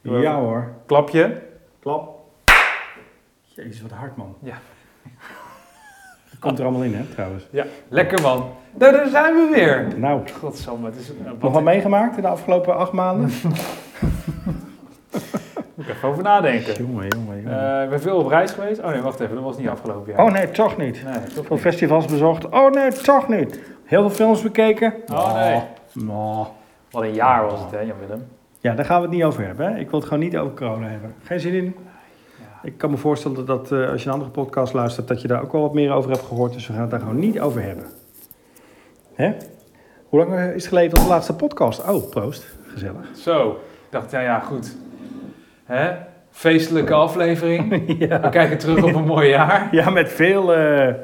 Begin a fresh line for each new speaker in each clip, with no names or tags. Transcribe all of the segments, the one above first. Ja hoor.
Klapje.
Klap.
Jezus, wat hard man.
Ja.
Komt er allemaal in hè, trouwens.
Ja, lekker man. Nou, daar zijn we weer.
Nou,
Godsamme, het is een... wat-
nog wat meegemaakt in de afgelopen acht maanden?
Moet ik even over nadenken.
jongen, jongen, jongen.
Eh, ik ben veel op reis geweest. Oh nee, wacht even, dat was niet afgelopen jaar.
oh nee, toch niet.
nee. toch
Veel
niet.
festivals bezocht. Oh nee, toch niet. Heel veel films bekeken.
Oh nee.
Nou.
Wat een jaar was het, hè, Jan-Willem?
Ja, daar gaan we het niet over hebben. Hè? Ik wil het gewoon niet over corona hebben. Geen zin in.
Ja.
Ik kan me voorstellen dat eh, als je een andere podcast luistert, dat je daar ook wel wat meer over hebt gehoord. Dus we gaan het daar gewoon niet over hebben. Hè? Hoe lang eh, is het geleden onze laatste podcast? Oh, proost. Gezellig.
Zo, ik dacht, ja, ja, goed. Hè? Feestelijke aflevering. We kijken terug op een mooi jaar.
Ja, met veel eh,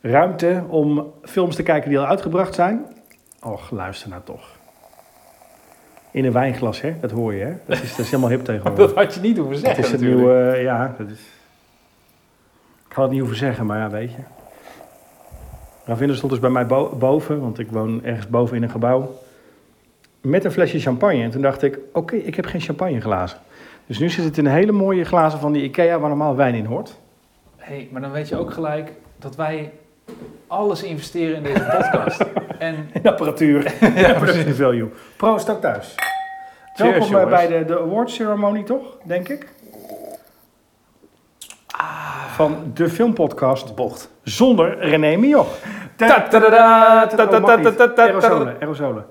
ruimte om films te kijken die al uitgebracht zijn. Och, luister nou toch. In een wijnglas, hè? Dat hoor je, hè? Dat is, dat is helemaal hip tegenwoordig.
Dat had je niet hoeven
Dat
zeggen
is het
natuurlijk.
nieuwe, eh, ja, dat is... Ik had het niet hoeven zeggen, maar ja, weet je. Ravinder stond dus bij mij bo- boven, want ik woon ergens boven in een gebouw. Met een flesje champagne. En toen dacht ik, oké, ik heb geen champagneglazen. Dus nu zit het in hele mooie glazen van die Ikea waar normaal wijn in hoort.
hey, maar dan weet je ook gelijk dat wij alles investeren in deze podcast. en
In apparatuur.
ja,
Production value. Proost ook thuis.
Cheers,
Welkom eh,
jongens.
bij de, de award ceremony, toch? Denk ik.
Ah.
Van de filmpodcast. Bocht. Zonder René Mioch.
Ta- ta- da- da- ta- ta-
Oh,
ta-
mag
ta-
niet.
ta- ta-
Aerosolen, aerosolen.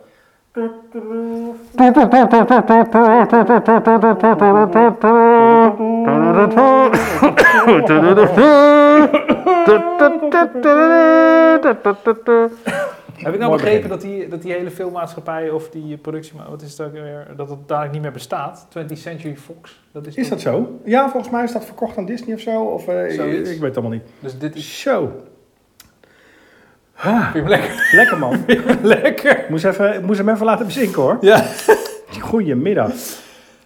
Heb ik nou
Mooi
begrepen
begin.
dat die, dat die hele filmmaatschappij of die productie, wat is het ook weer, dat het dadelijk niet meer bestaat? 20th Century Fox? Dat is,
Is
toch-
dat zo? Ja, volgens mij is dat verkocht aan Disney of zo. Of, eh,
Zoiets.
ik weet het allemaal niet.
Dus dit is
Zo.
vind je hem lekker.
Lekker man.
lekker.
Moest, even, moest hem even laten bezinken hoor.
Ja.
Goedemiddag.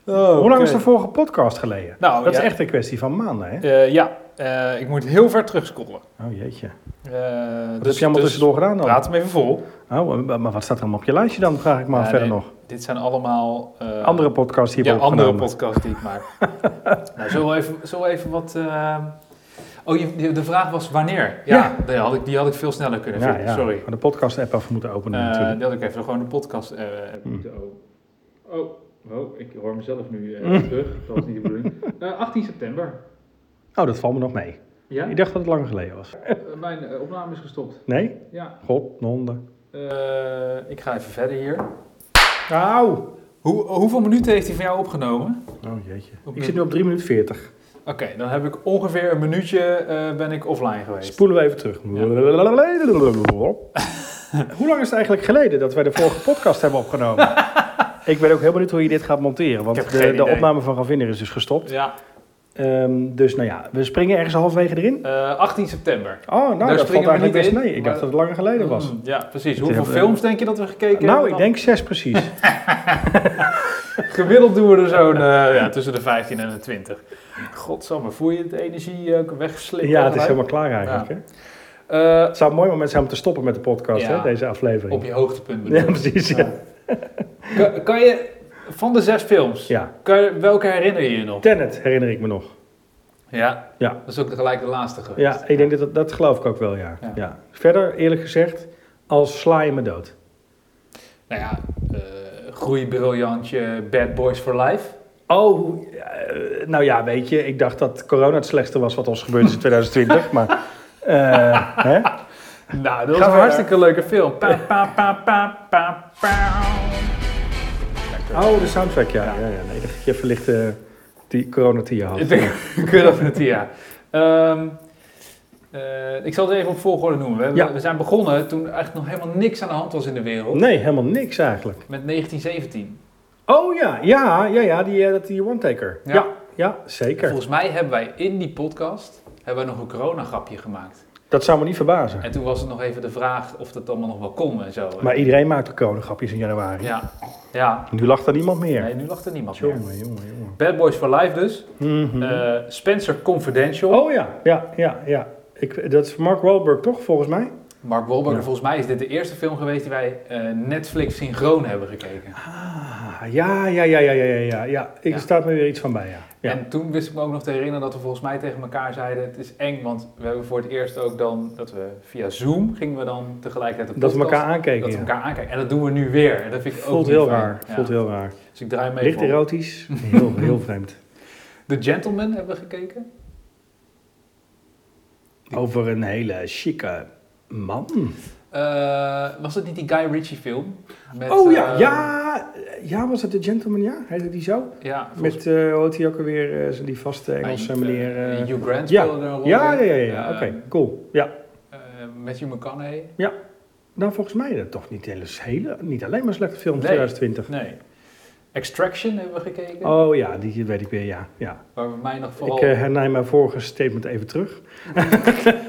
Hoe lang is de vorige podcast geleden?
Oh, Nou,
dat
ja.
is echt een kwestie van maanden, hè?
Eh, ja, Eh, ik moet heel ver terugscrollen.
Oh jeetje.
Eh,
Wat
dus,
heb je allemaal
dus
tussendoor gedaan dan?
Praat hem even vol.
Oh, maar maar wat staat er allemaal op je lijstje dan, vraag ik me af
Ja,
verder
nee.
nog.
Dit zijn allemaal... eh,
Andere podcasts die je
ja,
hebt
andere
opgenomen.
podcast die ik maak. nou, zullen we even, zullen we even wat... eh, Oh, je- de- de vraag was wanneer? Ja,
Ja.
Die, had ik, die had ik veel sneller kunnen
Ja,
vinden,
ja.
sorry.
Maar de podcast app af moeten openen
Eh,
natuurlijk.
die had ik even gewoon de podcast... eh,
Hmm.
Oh, oh, ik hoor mezelf nu eh,
Hmm.
terug. Dat was niet de bedoeling. 18 september.
Oh, dat valt me nog mee.
Ja, eh,
Ik dacht dat het langer geleden was.
mijn opname is gestopt.
Nee?
Ja. eh,
God, nonden.
ik ga even verder hier.
Auw!
Hoe, hoeveel minuten heeft hij van jou opgenomen?
Oh jeetje.
Op
Ik
de-
zit nu op 3 minuten 40.
Oké, dan heb ik ongeveer een minuutje eh, ben ik offline geweest.
Spoelen we even terug. Hoe lang is het eigenlijk geleden dat wij de vorige podcast hebben opgenomen? Ik ben ook heel benieuwd hoe je dit gaat monteren,
Ik
want
heb geen
de, de
idee.
opname van Ravinder is dus gestopt.
ja,
Ehm, dus nou ja, we springen ergens halverwege erin.
eh, 18 september.
Oh, nou,
Daar
dat valt
springen we
eigenlijk
niet
best
in,
mee. Ik
maar-
dacht dat het langer geleden was.
Mm, ja, precies. Hoeveel
hebben we-
films denk je dat we gekeken
Nou,
hebben?
ik denk zes precies.
Gemiddeld doen we er zo'n eh, ja, tussen de 15 en de 20. Godsamme, voel je de energie ook weggeslikt?
ja, het is
eruit?
helemaal klaar eigenlijk.
Ja.
Hè?
Eh,
Het zou een mooi moment zijn om te stoppen met de podcast,
Ja.
hè, deze
op
aflevering.
je hoogtepunt bedoel
Ja,
ik.
precies. Ja.
Kan, kan je, van de zes films,
Ja.
kan je, welke herinner je je nog?
Tenet herinner ik me nog.
Ja,
Ja.
dat is ook gelijk de laatste geweest.
Ja, ik denk dat, dat dat geloof ik ook wel, ja.
Ja.
ja. Verder, eerlijk gezegd, als sla je me dood.
Nou ja, eh groeibriljantje Bad Boys for Life.
Oh, eh, nou ja, weet je, ik dacht dat corona het slechtste was wat ons gebeurd is in 2020, maar... eh, hè?
Nou, dat
Gaan
was een
we
hartstikke leuke film. Pa, pa, pa, pa, pa, pa.
Oh, de soundtrack, ja. ja. ja, nee, dat je verlicht eh, die corona die je had.
Ik denk, ik weet dat het, ja. Ehm, eh, ik zal het even op volgorde noemen. We, hebben-
Ja.
we zijn begonnen toen eigenlijk nog helemaal niks aan de hand was in de wereld.
Nee, helemaal niks eigenlijk.
Met 1917.
Oh ja, ja, ja, ja, die, eh, dat die one-taker.
Ja.
Ja. ja, zeker.
Volgens mij hebben wij in die podcast hebben wij nog een corona-grapje gemaakt.
Dat zou me niet verbazen.
En toen was het nog even de vraag of dat allemaal nog wel kon en zo.
Maar iedereen maakt corona-grapjes in januari.
Ja, ja.
Nu lacht er niemand meer.
Nee, nu lacht er niemand meer.
jongen, jongen, jongen.
Bad Boys for Life dus.
Mhm.
Eh, Spencer Confidential.
oh ja, ja, ja, ja. Ik, dat is Mark Wahlberg toch, volgens mij?
Mark Wahlberg.
Ja.
En volgens mij is dit de eerste film geweest die wij eh, Netflix synchroon hebben gekeken.
Ah, ja, ja, ja, ja, ja, ja, ja. ja. Ik
Ja.
staat me weer iets van bij, ja. ja.
En toen wist ik me ook nog te herinneren dat we volgens mij tegen elkaar zeiden: het is eng, want we hebben voor het eerst ook dan dat we via Zoom gingen we dan tegelijkertijd een
dat we
podcast-
elkaar aankeken,
dat we
ja.
elkaar aankijken. En dat doen we nu weer. En dat vind ik ook
Voelt
niet
heel
fijn.
raar.
Ja.
Voelt heel raar.
Dus ik draai mee.
Licht
voor.
erotisch. Heel, heel vreemd.
The Gentleman hebben we gekeken.
Over een hele chique man.
Eh, was dat niet die Guy Ritchie film? Met,
oh ja,
eh,
ja. Ja, was het de gentleman, ja? Heette die zo?
ja volgens
Met, eh hoe heet hij ook alweer, eh, zo die vaste Engelse
Ah,
meneer.
eh,
eh,
Hugh Grant
ja.
speelde er een rol
ja, ja,
in.
ja, ja. ja.
Eh,
Oké, cool. Ja.
eh, Matthew McConaughey.
Nou, volgens mij dat toch niet, hele, hele, niet alleen maar slechte film
Nee.
2020.
Nee. Extraction hebben we gekeken.
Oh ja, die weet ik weer, ja. ja.
Waar we mij nog vooral...
Ik eh herneem mijn vorige statement even terug.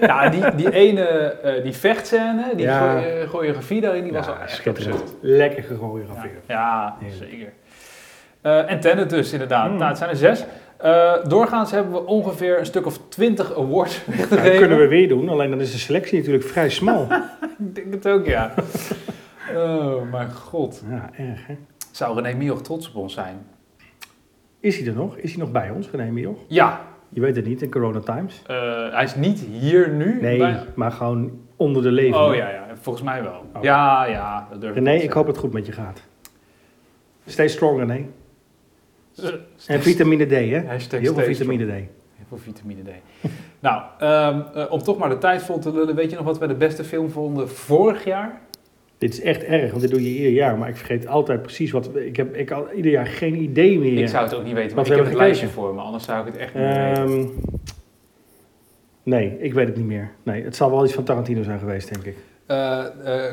Ja, die, die ene, eh, die vechtscène, die
Ja.
goeie- choreografie daarin, die was al echt
schitterend.
absurd.
Lekker
Ja,
gechoreografeerd.
ja,
Heerlijk.
zeker. Eh, en Tenet dus, inderdaad.
Mm.
Nou, het zijn er zes. Eh, doorgaans hebben we ongeveer een stuk of twintig awards
Nou,
weggegeven.
dat kunnen we weer doen, alleen dan is de selectie natuurlijk vrij smal.
Ik denk het ook, ja. oh, mijn god.
ja, erg hè.
Zou René Mioch trots op ons zijn?
Is hij er nog? Is hij nog bij ons, René Mioch?
Ja,
Je weet het niet, in Corona Times.
eh, hij is niet hier nu.
Nee,
bij-
maar gewoon onder de leven.
Oh ja, ja, volgens mij wel.
Oh.
Ja, ja, dat durf
René,
niet te
ik hoop het goed met je gaat. Stay strong, René.
zeggen. Eh,
En vitamine D, hè?
Hashtag
Heel veel
stay
vitamine D.
Heel veel vitamine D. nou, ehm, eh, om toch maar de tijd vol te lullen, weet je nog wat wij de beste film vonden vorig jaar?
Dit is echt erg, want dit doe je ieder jaar, maar ik vergeet altijd precies wat. Ik heb ik al ieder jaar geen idee meer.
Ik zou het ook niet weten, maar
Wat
ik heb
hebben
het
we
lijstje
gekeken?
voor me, anders zou ik het echt niet meer weten.
Ehm, nee, ik weet het niet meer. Nee, het zal wel iets van Tarantino zijn geweest, denk ik.
Eh, eh,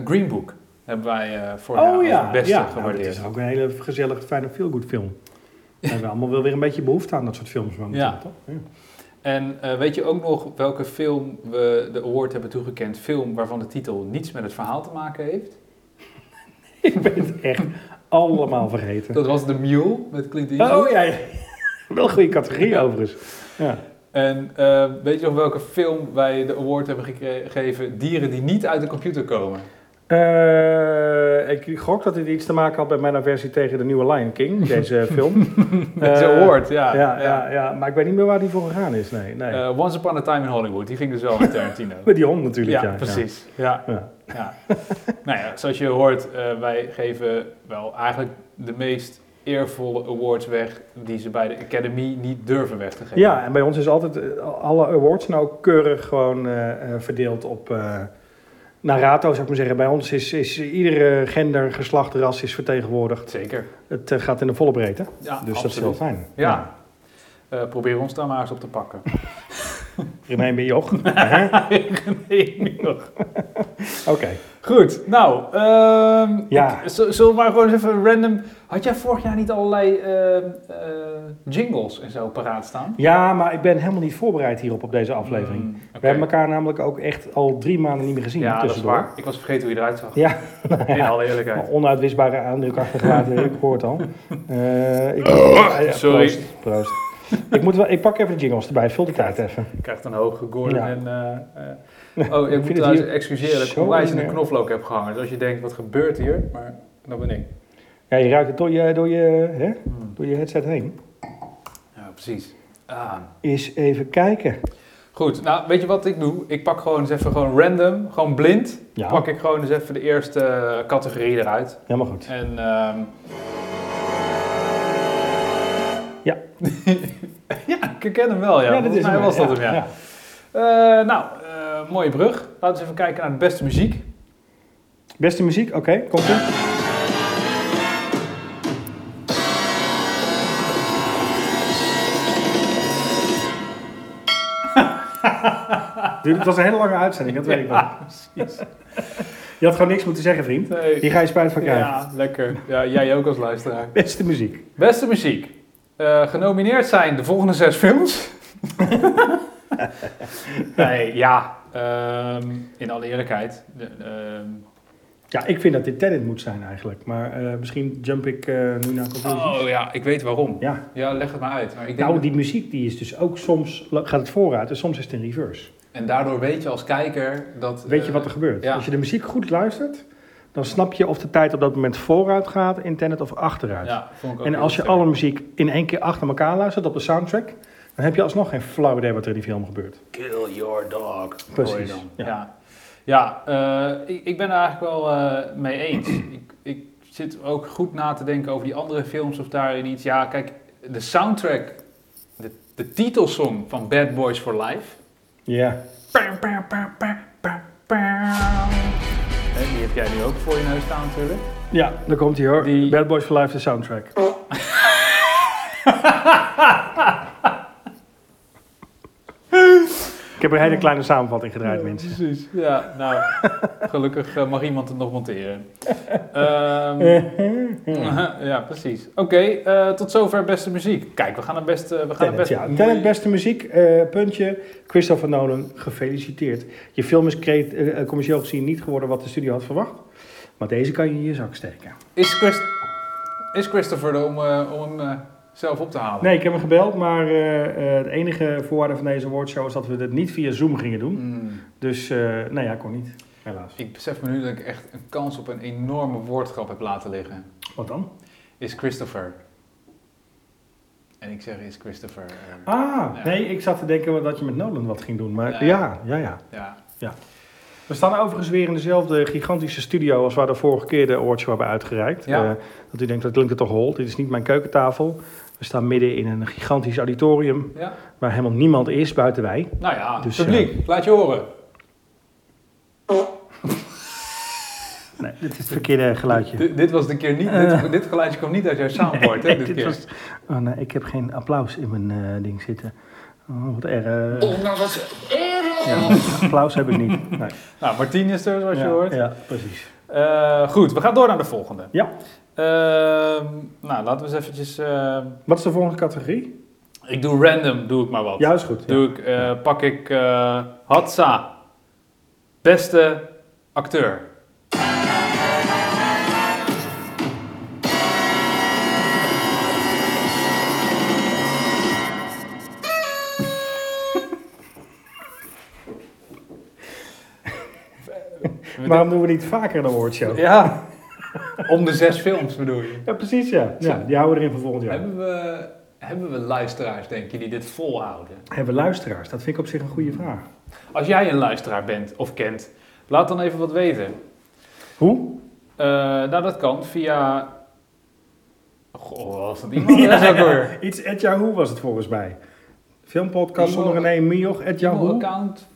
Green Book hebben wij eh vorig jaar als het beste
Oh ja. Nou, dit
gewaardeerd.
is ook een hele gezellig, fijne feel-good film. We hebben allemaal wel weer een beetje behoefte aan dat soort films. momenteel,
Ja.
toch? Ja.
En eh, weet je ook nog welke film we de award hebben toegekend? Film waarvan de titel niets met het verhaal te maken heeft.
Ik ben het echt allemaal vergeten.
Dat was The Mule met Clint Eastwood.
Oh ja, ja. wel een goede categorie
Ja.
overigens. Ja.
En eh, weet je nog welke film wij de award hebben gekre- gegeven? Dieren die niet uit de computer komen.
Eh, ik gok dat dit iets te maken had met mijn aversie tegen de nieuwe Lion King, deze film.
Dat is een
Eh,
award, ja.
Ja, ja, ja. maar ik weet niet meer waar die voor gegaan is. Nee, nee.
Eh, Once Upon a Time in Hollywood, die ging dus wel met Tarantino.
met die hond natuurlijk.
ja,
Ja,
precies. Ja.
Ja.
Ja. nou ja, zoals je hoort, eh, wij geven wel eigenlijk de meest eervolle awards weg die ze bij de Academy niet durven weg te geven.
Ja, en bij ons is altijd eh, alle awards nou keurig gewoon eh, eh, verdeeld op. eh naar rato zou ik maar zeggen. Bij ons is, is iedere gender, geslacht, ras is vertegenwoordigd.
Zeker.
Het eh, gaat in de volle breedte. Dus
Ja,
dat is
absoluut.
heel fijn.
Ja. Eh, probeer ons daar maar eens op te pakken.
René ben Joch. Hè?
nee, nog.
Oké.
Goed, nou, ehm,
Ja.
ik- z- zullen we maar gewoon eens even random... Had jij vorig jaar niet allerlei ehm, eh, jingles en zo paraat staan?
Ja, maar ik ben helemaal niet voorbereid hierop op deze aflevering.
Mm, oké.
We hebben elkaar namelijk ook echt al drie maanden niet meer gezien.
Ja, dat is
tussendoor.
waar. Ik was vergeten hoe je eruit zag.
Ja,
In alle
maar
eerlijkheid.
onuitwisbare aandruk achtergelaten, ik hoor het al. Eh, ik, Ja, ja,
Oh, sorry.
Proost, proost. Ik, moet wel, ik pak even de jingles erbij, vul de tijd even.
Ik krijg dan hoge Gordon
Ja.
en... eh, eh, oh, ik
vind
moet
het
trouwens
hier
excuseren dat ik
zo
onwijs in de
erg.
knoflook heb gehangen. Dus als je denkt, wat gebeurt hier? Maar dat ben ik.
Ja, je ruikt het door je, door je, hè? Door je headset heen.
Hmm. Ja, precies. Ah.
Is even kijken.
Goed, nou weet je wat ik doe? Ik pak gewoon eens even gewoon random, gewoon blind.
Ja.
Pak ik gewoon eens even de eerste eh, categorie eruit.
Helemaal goed.
En ehm,
Ja.
ja, ik ken hem wel. Ja, Volgens mij
hem,
was dat
ja,
hem, ja.
ja.
Eh, nou, eh, mooie brug. Laten we eens even kijken naar de beste muziek.
Beste muziek, oké, komt ie. Dude, Het was een hele lange uitzending, dat weet ik wel. Je had gewoon niks moeten zeggen, vriend.
Nee.
Hier ga je spijt van krijgen.
Ja, lekker. Ja, jij ook als luisteraar.
Beste muziek.
Beste muziek. Eh, genomineerd zijn de volgende zes films. nee, ja. ehm, in alle eerlijkheid. de- ehm,
Ja, ik vind dat dit Tenet moet zijn eigenlijk. Maar eh, misschien jump ik eh, nu naar conclusies.
oh ja, ik weet waarom.
Ja.
Ja, leg het maar uit. Maar ik denk
Nou, die muziek die is dus ook soms gaat het vooruit en soms is het in reverse.
En daardoor weet je als kijker dat...
Weet je
eh,
wat er gebeurt?
ja.
Als je de muziek goed luistert, dan snap je of de tijd op dat moment vooruit gaat in Tenet of achteruit.
Ja, vond ik ook
en
heel
als je
sterk.
alle muziek in één keer achter elkaar luistert op de soundtrack, dan heb je alsnog geen flauw idee wat er in die film gebeurt.
Kill your dog.
Precies,
hoor je dan.
ja.
Ja, ja. eh, ik, ik ben er eigenlijk wel eh, mee eens. ik, ik zit ook goed na te denken over die andere films of daarin iets. Ja, kijk, de soundtrack, de, de titelsong van Bad Boys for Life.
Ja,
Pam, pam, pam, pam, pam, pam. Hè, Die heb jij nu ook voor je neus staan natuurlijk.
ja daar komt hij hoor.
Die-
Bad Boys for Life, de soundtrack. Ik heb een hele kleine samenvatting gedraaid, mensen.
Precies, ja. Nou, gelukkig eh, mag iemand het nog monteren. Ehm, ja, precies. Oké, eh, tot zover beste muziek. Kijk, we gaan het best... eh, we gaan het
Tenet,
best
ja.
mooi-
Tenet, beste muziek, eh, puntje. Christopher Nolan, gefeliciteerd. Je film is creat- eh, eh, commercieel gezien niet geworden wat de studio had verwacht. Maar deze kan je in je zak steken.
Is, Christ- is Christopher er om, eh, om hem eh, zelf op te halen?
Nee, ik heb hem gebeld, maar eh, eh, de enige voorwaarde van deze awardshow is dat we dit niet via Zoom gingen doen.
Hmm,
Dus, eh nou ja, kon niet. Helaas.
ik besef me nu dat ik echt een kans op een enorme woordgrap heb laten liggen.
Wat dan?
Is Christopher. En ik zeg is Christopher. eh,
Ah,
Ja.
nee, ik zat te denken dat je met Nolan wat ging doen. Maar
Ja.
ja, ja, ja.
ja.
We staan overigens weer in dezelfde gigantische studio als waar de vorige keer de awardshow hebben uitgereikt.
Ja.
Eh, dat u denkt, dat klinkt er toch hol. Dit is niet mijn keukentafel. We staan midden in een gigantisch auditorium
ja.
waar helemaal niemand is buiten wij.
Nou ja,
Dus,
publiek, laat je horen.
Nee, dit is het verkeerde geluidje.
Dit- dit was de keer niet. Dit, dit geluidje kwam niet uit jouw soundboard, hè? Dit,
Eh. Dit
keer.
was- oh, nee, ik heb geen applaus in mijn eh, ding zitten. Oh, wat erg. Ja, applaus heb ik niet. Nee.
Nou, Martien is er, zoals
ja,
je hoort.
Ja, precies.
Eh, goed, we gaan door naar de volgende.
Ja.
Ehm, nou, laten we eens eventjes. ehm,
Wat is de volgende categorie?
ik doe random, doe ik maar wat.
Juist goed. Ja.
Doe ik, eh, pak ik eh Hatsa, beste acteur.
Waarom doen we niet vaker een awardshow?
Ja, om de zes films bedoel je.
Ja, precies ja. ja. Die houden we erin voor volgend jaar.
Hebben we, hebben we luisteraars, denk je, die dit volhouden?
Hebben we luisteraars? Dat vind ik op zich een goede vraag.
Als jij een luisteraar bent of kent, laat dan even wat weten.
Hoe?
Eh, nou, dat kan via... Goh, wat was dat iemand? Ja, ook weer.
Iets at Yahoo was het volgens mij. Filmpodcast
E-mail-
zonder René Mioch, at Yahoo.
E-mailaccount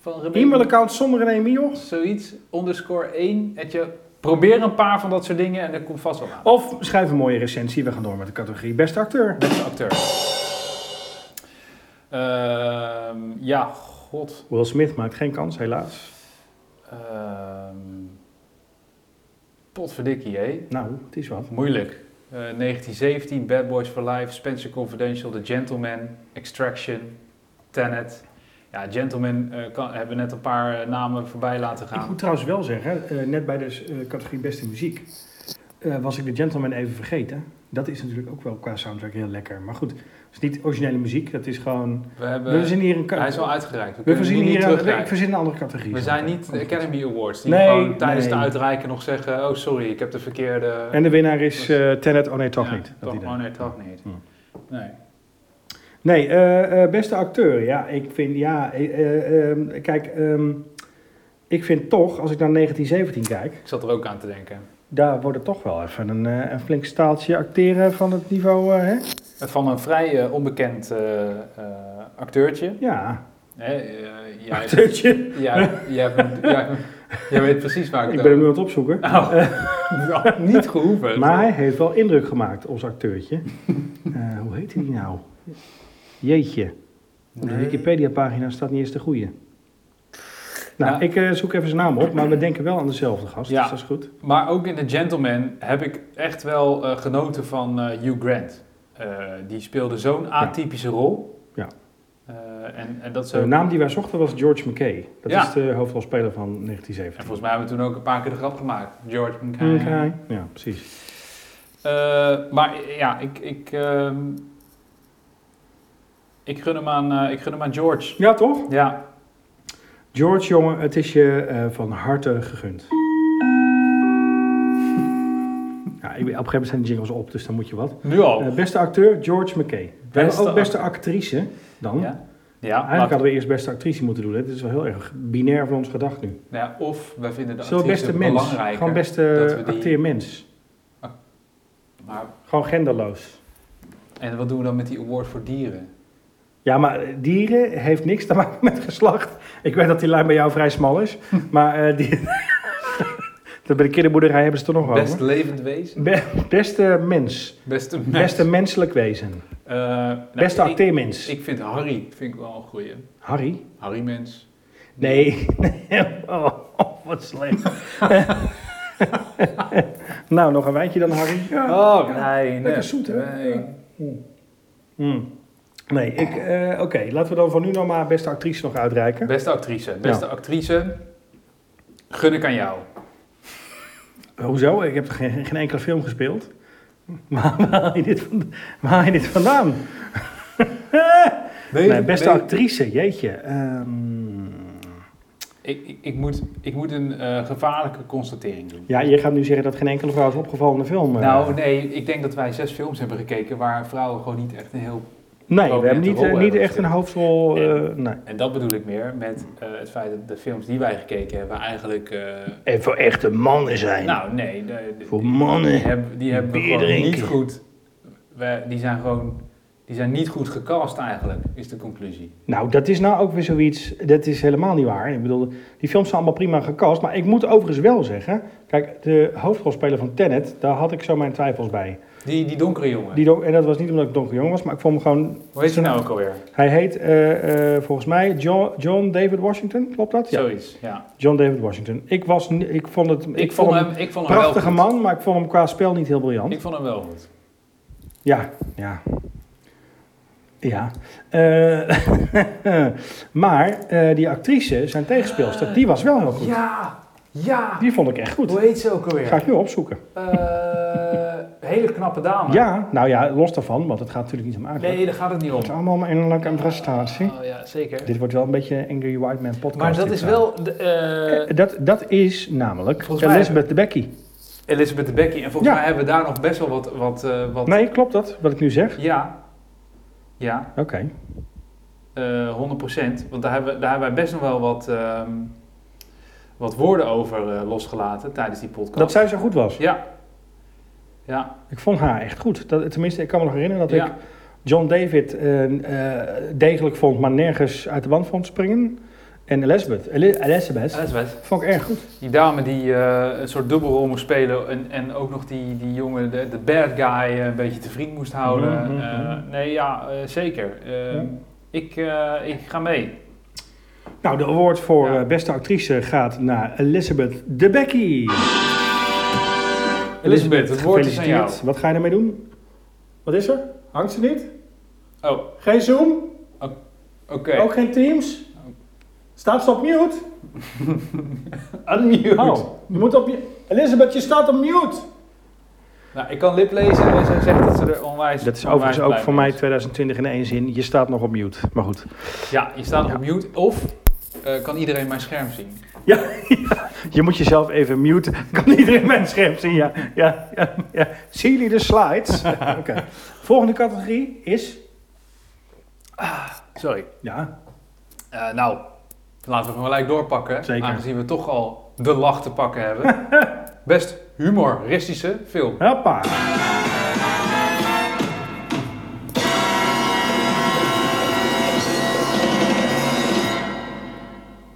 van René.
E-mailaccount zonder René Mioch.
Zoiets, underscore 1. at je, probeer een paar van dat soort dingen en dat komt vast wel aan.
Of schrijf een mooie recensie. We gaan door met de categorie beste acteur.
Beste acteur. Ehm, ja, god.
Will Smith maakt geen kans, helaas.
Ehm potverdikkie, hé.
Nou, het is wat.
Moeilijk. Eh, 1917, Bad Boys for Life, Spencer Confidential, The Gentleman, Extraction, Tenet. Ja, Gentleman eh, kan, hebben we net een paar eh, namen voorbij laten
Ik
gaan.
moet trouwens wel zeggen, eh, net bij de eh, categorie beste muziek, eh, was ik de Gentleman even vergeten. Dat is natuurlijk ook wel qua soundtrack heel lekker. Maar goed, het is niet originele muziek. Dat is gewoon...
We hebben,
We zien hier een...
hij
ka-
is al uitgereikt. We,
We
kunnen
voorzien
die niet
hier een, ik
terugdraaien.
verzin een andere categorie.
We
zo
zijn
meteen.
niet de Academy Awards, die
Nee,
gewoon tijdens
nee.
het uitreiken nog zeggen... oh, sorry, ik heb de verkeerde...
En de winnaar is eh Tenet. Oh nee, toch
Ja,
niet. Dat
Toch,
idee.
oh nee, toch niet.
Hmm.
Nee.
Nee, eh, eh, beste acteur. Ja, ik vind, ja, eh, eh, ehm, kijk, ehm, ik vind toch, als ik naar 1917 kijk,
Ik zat er ook aan te denken.
daar wordt het toch wel even een, eh, een flink staaltje acteren van het niveau, eh, hè?
Van een vrij eh, onbekend eh, eh, acteurtje.
Ja,
Hè, eh, jij-
acteurtje.
Ja, jij, hebt- jij- jij weet precies waar ik,
Ik
het
ben hem
over-
nu aan het opzoeken.
Oh, nou, niet gehoeven.
Maar hij heeft wel indruk gemaakt, ons acteurtje. Eh, hoe heet hij nou? Jeetje. Op de
Nee.
Wikipedia-pagina staat niet eens de goede. Nou,
Nou.
ik eh, zoek even zijn naam op, maar we denken wel aan dezelfde gast,
Ja.
dus dat is goed.
Maar ook in The Gentleman heb ik echt wel eh, genoten van eh, Hugh Grant. Eh, die speelde zo'n atypische rol.
Ja. nou-
Eh, en, en dat is
De
ook-
naam die wij zochten was George McKay. Dat
Ja.
is de hoofdrolspeler van
En
1970.
volgens mij hebben we toen ook een paar keer de grap gemaakt. George McKay.
McKay. Ja, precies.
Eh, maar ja, ik, ik, ehm, ik, gun hem aan, eh, ik gun hem aan George.
Ja, toch?
Ja.
George, jongen, het is je eh, van harte gegund. Ja, ik, op een gegeven moment zijn de jingles op, dus dan moet je wat.
Nu al.
Eh, beste acteur, George McKay. We hebben
Oh. Beste
ook beste actrice dan. Nou,
Ja, ja,
Eigenlijk
maar-
hadden we eerst beste actrice moeten doen. hè. Dit is wel heel erg binair van ons gedacht nu.
nou ja, of wij vinden de
Zo
actrice
beste mens.
belangrijker.
Gewoon
dat
beste
we die-
acteermens.
Maar,
Gewoon genderloos.
en wat doen we dan met die award voor dieren?
Ja, maar dieren heeft niks te maken met geslacht. Ik weet dat die lijn bij jou vrij smal is. maar eh, die... dat bij de kinderboerderij hebben ze het er nog
Best
over.
levend wezen?
Be- beste mens.
Beste mens.
Beste menselijk wezen.
Eh, nou,
beste
ik-
acteermens.
Ik vind Harry vind ik wel een goeie.
Harry?
Harry Mens.
Nee. oh, oh, wat slecht. nou, nog een wijntje dan, Harry.
Oh, nee.
Lekker zoet, hè?
Nee.
Hmm. Nee, ik... eh, Oké, laten we dan van nu nog maar beste actrice nog uitreiken.
Beste actrice. Beste actrice. Gun ik aan jou.
Eh, Hoezo? Ik heb geen, geen enkele film gespeeld. Waar waar haal je dit, van- waar haal je dit vandaan? Nee, beste actrice, jeetje. Ehm,
Ik, ik, ik moet, ik moet een eh, gevaarlijke constatering doen.
ja, je gaat nu zeggen dat geen enkele vrouw is opgevallen in de film. eh.
Nou, nee, ik denk dat wij zes films hebben gekeken waar vrouwen gewoon niet echt een heel.
nee,
ook
we hebben
niet
niet,
de rol
eh, niet
hebben
echt een hoofdrol. eh,
Nee.
nee.
En dat bedoel ik meer met eh, het feit dat de films die wij gekeken hebben eigenlijk. eh,
En voor echte mannen zijn.
nou, nee, de- de-
voor
die
mannen.
hebben, die hebben we
bier
gewoon niet
drinken.
goed. we- die zijn gewoon. Die zijn niet goed gecast eigenlijk, is de conclusie.
Nou, dat is nou ook weer zoiets. Dat is helemaal niet waar. Ik bedoel, die films zijn allemaal prima gecast. Maar ik moet overigens wel zeggen. Kijk, de hoofdrolspeler van Tenet, daar had ik zo mijn twijfels bij.
Die, die donkere jongen.
Die, don- en dat was niet omdat ik donker jong was, maar ik vond hem gewoon
Hoe heet ze nou ook alweer?
Hij heet eh, eh, volgens mij John, John David Washington, klopt dat?
Zoiets, ja.
John David Washington. Ik, was, ni- ik vond het ik vond hem
ik vond
een
hem wel
prachtige
goed.
man, maar ik vond hem qua spel niet heel briljant.
Ik vond hem wel goed.
Ja, ja. Ja. Eh, maar eh, die actrice, zijn tegenspeelster, die was wel heel goed.
Ja, ja.
Die vond ik echt goed.
heet ze ook
Ga ik nu opzoeken.
Eh, hele knappe dame.
Ja, nou ja, los daarvan, want het gaat natuurlijk niet om uiterlijk.
Ah. Nee, daar gaat het niet om.
Het is allemaal maar innerlijke prestatie.
Oh ja, zeker.
Dit wordt wel een beetje een Angry White Man podcast.
Maar dat
dit
is
trouwens.
wel de, eh,
Eh, dat, dat is namelijk
Volgens mij-
Elizabeth de Becky.
Elizabeth de Becky. En volgens
Ja.
mij hebben we daar nog best wel wat... wat, eh, wat
Nee, klopt dat, wat ik nu zeg?
Ja. Ja,
Oké.
eh 100%. Want daar hebben, we- daar hebben wij best nog wel wat, ehm, wat woorden over eh, losgelaten tijdens die podcast.
Dat zij zo goed was.
Ja. Ja.
Ik vond haar echt goed. Dat, tenminste, ik kan me nog herinneren dat
ja.
ik John David eh, eh, degelijk vond, maar nergens uit de band vond springen. En Elizabeth, Eli- Elizabeth
Elizabeth.
vond ik erg goed.
Die dame die eh, een soort dubbelrol moest spelen en, en ook nog die, die jongen, de, de bad guy, eh, een beetje te vriend moest houden.
Mhm, mhm.
Eh, nee, ja, eh, zeker. Eh,
Ja.
ik, eh, ik ga mee.
Nou, de award voor
Ja.
eh, beste actrice gaat naar Elizabeth de Becky.
Elizabeth, het woord is aan jou.
Gefeliciteerd. Wat ga je ermee doen? Wat is er? Hangt ze niet?
Oh,
Geen Zoom?
oké.
Ook geen Teams? Staat ze op mute? Oh,
Unmute.
je moet op je... Elizabeth, je staat op mute!
Nou, ik kan lip lezen en zij zegt dat ze er onwijs
Dat is
onwijs
overigens ook
blij
voor
mee
mij
is.
2020 in één zin. Je staat nog op mute. Maar goed.
Ja, je staat nog
Ja.
op mute. Of eh, kan iedereen mijn scherm zien?
Je moet jezelf even muten. Kan iedereen mijn scherm zien? Ja, ja, ja, ja. Zien jullie de slides? Oké. Volgende categorie is...
Sorry.
Ja,
Eh, nou, laten we gewoon gelijk doorpakken.
Zeker.
Aangezien we toch al de lach te pakken hebben. Best humoristische film.
hoppa.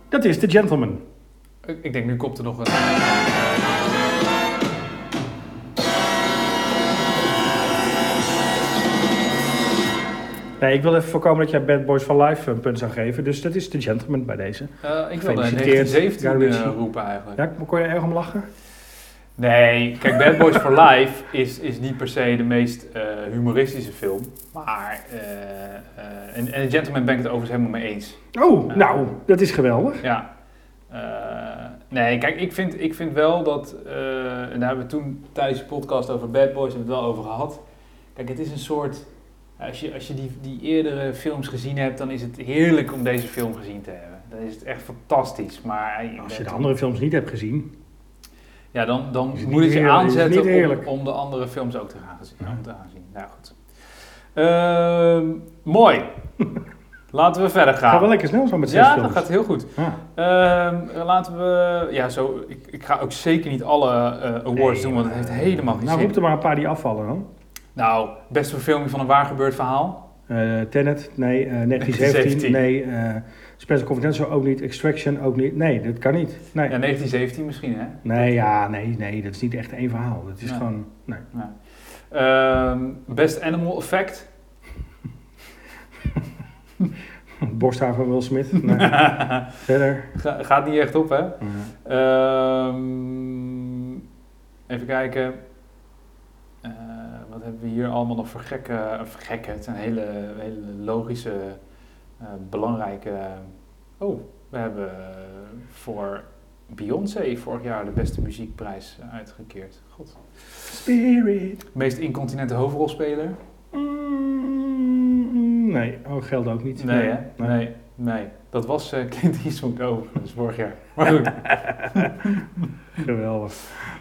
Dat is The Gentleman.
Ik ik denk, nu komt er nog een...
Nee, ik wil even voorkomen dat jij Bad Boys for Life een punt zou geven. Dus dat is The Gentleman bij deze.
Eh, ik wilde een
Gefeliciteerd,
1917
Guy
eh,
Ritchie.
roepen eigenlijk.
Ja, kon je er erg om lachen?
Nee, kijk, Bad Boys for Life is, is niet per se de meest eh, humoristische film. Maar, eh, eh, en, en Gentleman ben ik het overigens helemaal mee eens.
Oh, nou, dat is geweldig.
Ja. Eh, nee, kijk, ik vind, ik vind wel dat, eh, en daar hebben we toen tijdens de podcast over Bad Boys hebben we het wel over gehad. Kijk, het is een soort, als je, als je die, die eerdere films gezien hebt, dan is het heerlijk om deze film gezien te hebben. dan is het echt fantastisch. Maar eh, je
Als je
bent-
de andere films niet hebt gezien,
Ja, dan, dan
Is het
moet
niet
het je
eerlijk? Is het
aanzetten
niet
om,
eerlijk?
om de andere films ook te gaan zien.
Ja.
Om te gaan zien. Nou goed. Ehm, mooi. Laten we verder gaan.
ga wel lekker snel zo met zes
ja, dat
films.
gaat heel goed.
Ja.
Ehm, laten we. Ja, zo, ik, ik ga ook zeker niet alle eh, awards
Nee,
doen, want het heeft helemaal geen
Nou,
zin.
roep er maar een paar die afvallen dan.
Nou, beste verfilming van een waar gebeurd verhaal.
Eh Tenet, nee. eh 1917,
1917.
nee. eh Spencer Confidential ook niet. Extraction ook niet. Nee, dat kan niet. Nee,
Ja, 1917 misschien, hè?
nee, ja, nee, nee dat is niet echt één verhaal. Dat is
Nee.
gewoon... Nee.
Ehm, best Animal Effect.
Borsthaar van Will Smith. Nee. Verder. eh,
Ga- gaat niet echt op, hè?
Ja.
Ehm, even kijken. Eh, wat hebben we hier allemaal nog voor gekke... eh, voor gekke het zijn hele, hele logische, eh, belangrijke... Oh, we hebben voor Beyoncé vorig jaar de beste muziekprijs uitgekeerd. God.
Spirit.
Meest incontinente hoofdrolspeler?
Mm, nee, oh, geld ook niet.
Nee, hè? Nee, nee. Dat was eh, Clint Eastwood overigens vorig jaar. Maar goed.
Geweldig.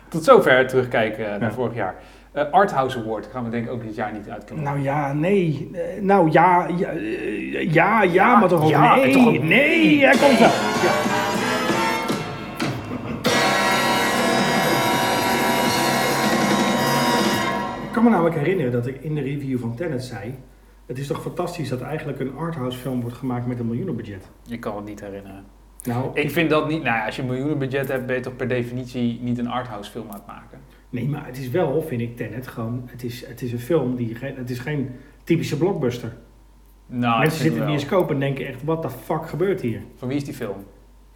Tot zover terugkijken eh, naar
Ja.
vorig jaar. Eh Arthouse Award gaan we denk ik ook dit jaar niet uit kunnen.
Nou ja, nee. Eh, Nou ja, ja, eh, ja, ja, maar toch ook
ja,
nee.
toch ook
nee, hij komt wel. Ja. Ik kan me namelijk herinneren dat ik in de review van Tenet zei... Het is toch fantastisch dat eigenlijk een arthouse film wordt gemaakt met een miljoenenbudget.
Ik kan het niet herinneren.
Nou,
Ik vind dat niet. Nou, ja, als je een miljoenenbudget hebt, ben je toch per definitie niet een arthouse film aan het maken.
Nee, maar het is wel, vind ik, Tenet gewoon... Het is, het is een film die... geen- Het is geen typische blockbuster.
Nou, dat
Mensen
vind ik
zitten in de
wel.
bioscoop en denken echt... What the fuck gebeurt hier?
Van wie is die film?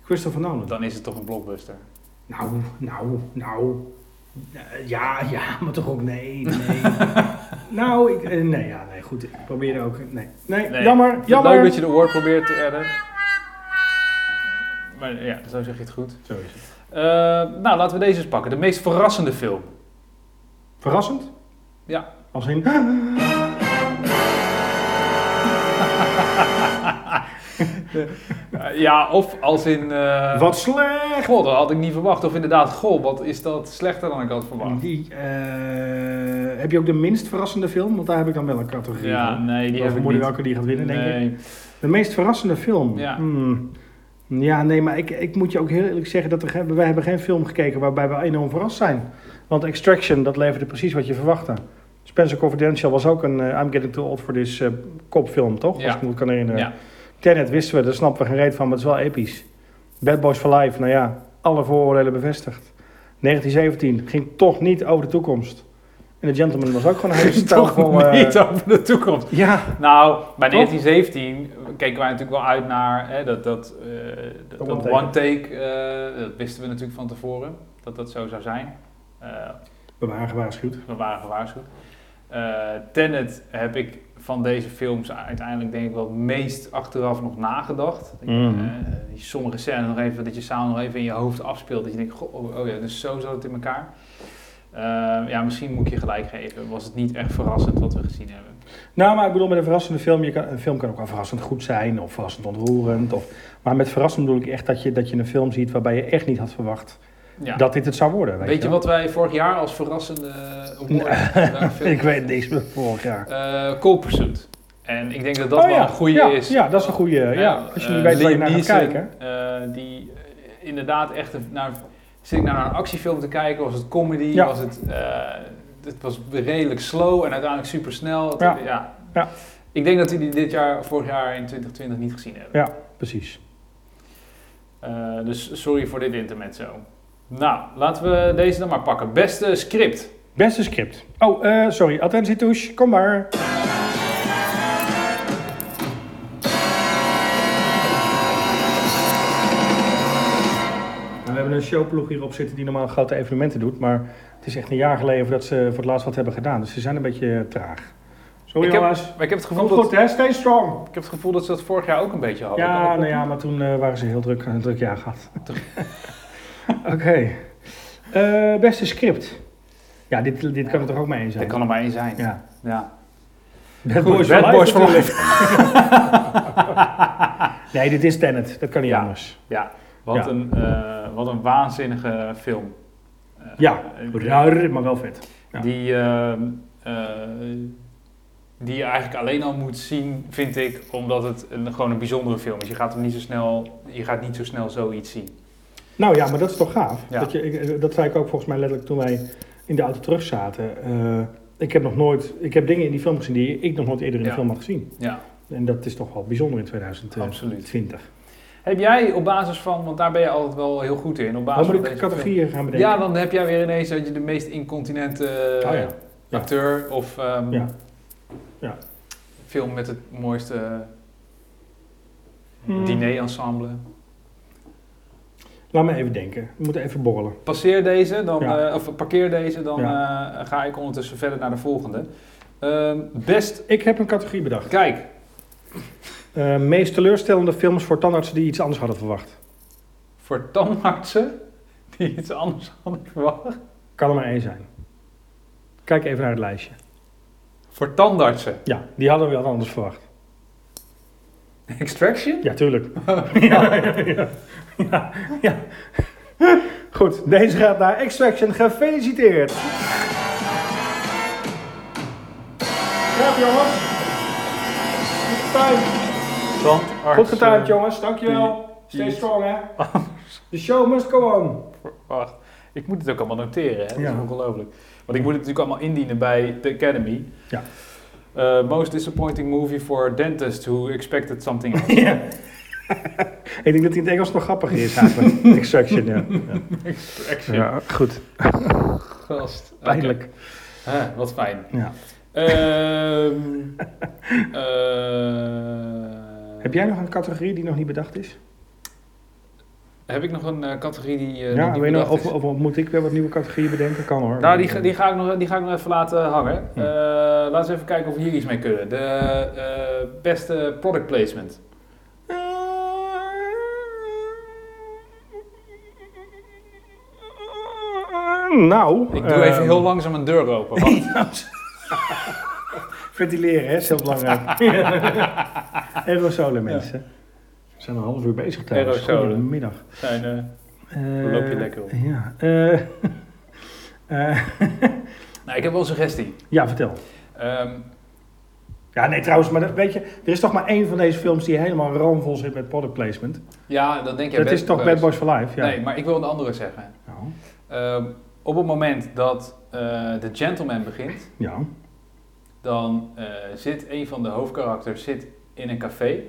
Christopher Nolan.
Dan is het toch een blockbuster.
Nou, nou, nou... Eh, Ja, ja, maar toch ook nee, nee. nou, ik, eh, nee, ja, nee, goed. Ik probeerde ook... eh, Nee, nee,
Nee, ik
jammer,
vind het
jammer.
Leuk dat je de award probeert te redden. Maar ja, zo zeg je het goed.
Zo is het.
Eh, nou, laten we deze eens pakken. De meest verrassende film.
Verrassend?
Ja.
Als in...
Eh, ja, of als in. eh,
Wat slecht!
God, dat had ik niet verwacht. Of inderdaad, goh, wat is dat slechter dan ik had verwacht.
Die, eh, heb je ook de minst verrassende film? Want daar heb ik dan wel een categorie
Ja,
van.
nee, die
Dan
heb ik
vermoed
niet.
welke die gaat winnen, denk ik.
nee.
De meest verrassende film?
Ja.
Hmm. Ja, nee, maar ik, ik moet je ook heel eerlijk zeggen... dat er, geen- wij hebben geen film gekeken waarbij we enorm verrast zijn. Want Extraction, dat leverde precies wat je verwachtte. Spencer Confidential was ook een eh, I'm getting too old for this eh, kopfilm, toch?
Ja.
Als ik me goed kan herinneren.
Ja.
Tenet wisten we, daar snappen we geen reet van, maar het is wel episch. Bad Boys for Life, nou ja, alle vooroordelen bevestigd. 1917 ging toch niet over de toekomst. En The Gentleman was ook gewoon een hele stel
Toch
vol... eh,
niet over de toekomst.
ja,
Nou, bij
Toch?
1917 keken wij natuurlijk wel uit naar hè, dat, dat, eh, dat,
One
dat
take.
one take. eh, dat wisten we natuurlijk van tevoren, dat dat zo zou zijn. Eh,
we waren gewaarschuwd.
we waren gewaarschuwd. Eh Tenet heb ik van deze films uiteindelijk denk ik wel het meest achteraf nog nagedacht. Ik,
Mhm.
eh, die sommige scènes nog even, dat je samen nog even in je hoofd afspeelt. Dat je denkt, goh, oh, oh ja, dus zo zat het in elkaar. Eh, ja, misschien moet ik je gelijk geven. Was het niet echt verrassend wat we gezien hebben.
Nou, maar ik bedoel, met een verrassende film, je kan, een film kan ook wel verrassend goed zijn of verrassend ontroerend. Of, maar met verrassend bedoel ik echt dat je, dat je een film ziet waarbij je echt niet had verwacht
Ja.
dat dit het zou worden. Weet,
Weet je
wel?
wat wij vorig jaar als verrassende award daar veel-
Ik weet niks meer vorig jaar.
Eh, Cold Pursuit. En ik denk dat dat
Oh
wel
ja,
een goede
ja,
is.
ja, dat is een goede,
Eh,
ja. Als je niet
eh,
weet waar je
Liam
naar gaat
Neeson,
kijken.
eh, die eh, inderdaad echt een- naar, zit ik naar een actiefilm te kijken. Was het comedy?
Ja.
Was het, eh, het was redelijk slow en uiteindelijk super snel.
Ja.
Ja.
Ja.
Ik denk dat we die dit jaar, vorig jaar in 2020 niet gezien hebben.
Ja, precies.
Eh, dus sorry voor dit intermezzo. Nou, laten we deze dan maar pakken. Beste script.
Beste script. Oh, eh, sorry. Attentie touche, kom maar. Nou, we hebben een showploeg hierop zitten die normaal grote evenementen doet. Maar het is echt een jaar geleden voordat ze voor het laatst wat hebben gedaan. Dus ze zijn een beetje traag. Sorry
Ik heb-
jongens.
Maar ik heb het gevoel
Komt
dat...
goed hè, stay strong.
Ik heb het gevoel dat ze dat vorig jaar ook een beetje hadden. Kan
Ja,
dat
nou
kloppen?
ja, maar toen eh, waren ze heel druk, een druk jaar gehad. Oké. Eh, beste script. Ja, dit, dit kan er toch ook mee eens zijn?
Dat kan er maar één zijn. Ja.
Ja.
Ja.
Bad
Goed,
Boys
Bad
for
Boys
Life
for
natuurlijk. Nee, dit is Tenet. Dat kan niet
Ja.
anders.
Ja, wat,
Ja.
Een, eh, wat een waanzinnige film. Eh,
Ja,
eh,
raar, maar wel vet. Ja.
Die, eh, eh, die je eigenlijk alleen al moet zien, vind ik, omdat het een, gewoon een bijzondere film is. Je gaat hem niet zo snel, je gaat niet zo snel zoiets zien.
Nou ja, maar dat is toch gaaf.
Ja.
Dat, je, ik- dat zei ik ook volgens mij letterlijk toen wij in de auto terug zaten. Eh, ik heb nog nooit, ik heb dingen in die film gezien die ik nog nooit eerder in
Ja.
de film had gezien.
Ja,
En dat is toch wel bijzonder in 2020.
absoluut. Heb jij op basis van, want daar ben je altijd wel heel goed in, op basis
Dan moet
van
ik
deze
Oh, categorieën gaan
film-
bedenken.
Ja, dan heb jij weer ineens dat je de meest incontinente eh,
Oh ja. Ja.
acteur of ehm,
Ja. Ja.
film met het mooiste
Hmm.
diner-ensemble.
Laat me even denken. We moeten even borrelen.
Passeer deze, dan,
Ja.
eh, of parkeer deze, dan eh, ga ik ondertussen verder naar de volgende. Ehm, best,
Ik heb een categorie bedacht.
kijk,
Eh, meest teleurstellende films voor tandartsen die iets anders hadden verwacht.
voor tandartsen die iets anders hadden verwacht.
Kan er maar één zijn. Kijk even naar het lijstje.
Voor tandartsen.
Ja, die hadden we wel anders verwacht.
Extraction?
Ja, tuurlijk. ja, ja, ja, ja, ja. Goed, deze gaat naar Extraction. Gefeliciteerd. Knap, jongens. Goed getimed.
Tandartsen.
Goed getimed, jongens. Dankjewel.
die-
Stay strong, hè. The show must go on.
Wacht, ik moet het ook allemaal noteren, hè? dat
Ja.
is ongelooflijk. Want ik moet het natuurlijk allemaal indienen bij de Academy.
Ja.
Eh, most disappointing movie for a dentist who expected something else.
Ja. Ik denk dat hij in het Engels nog grappiger is eigenlijk. Extraction, ja.
Extraction.
ja. Goed,
Gast. Oké.
pijnlijk.
Huh, wat fijn.
Ja.
Ehm, eh,
Heb jij nog een categorie die nog niet bedacht is?
Heb ik nog een eh, categorie die. eh, nog
ja,
niet
weet je nog,
bedacht
of,
is?
of moet ik weer wat nieuwe categorieën bedenken? Kan hoor. Eh,
Nou, die, ga- die, ga ik nog, die ga ik nog even laten hangen.
Hm.
Eh, laten we even kijken of we hier iets mee kunnen. De eh, beste product placement.
Nou,
Ik doe
eh,
even heel langzaam een deur open. Wacht.
Ventileren hè, is heel belangrijk. Aerosolen, mensen. We zijn al een half uur bezig trouwens.
Aerosolen.
Goedemiddag.
Zijn, eh,
Eh,
Loop je lekker op.
Ja, eh, eh,
nou, ik heb wel een suggestie.
ja, vertel.
Ehm,
Ja, nee, trouwens, maar dat, weet je, er is toch maar één van deze films die helemaal ramvol zit met product placement.
ja, dan denk jij.
dat is toch Bad Boys for Life? Ja.
Nee, maar ik wil een andere zeggen.
Nou,
Ehm, op het moment dat eh The Gentleman begint,
ja.
dan eh, zit een van de hoofdkarakters zit in een café.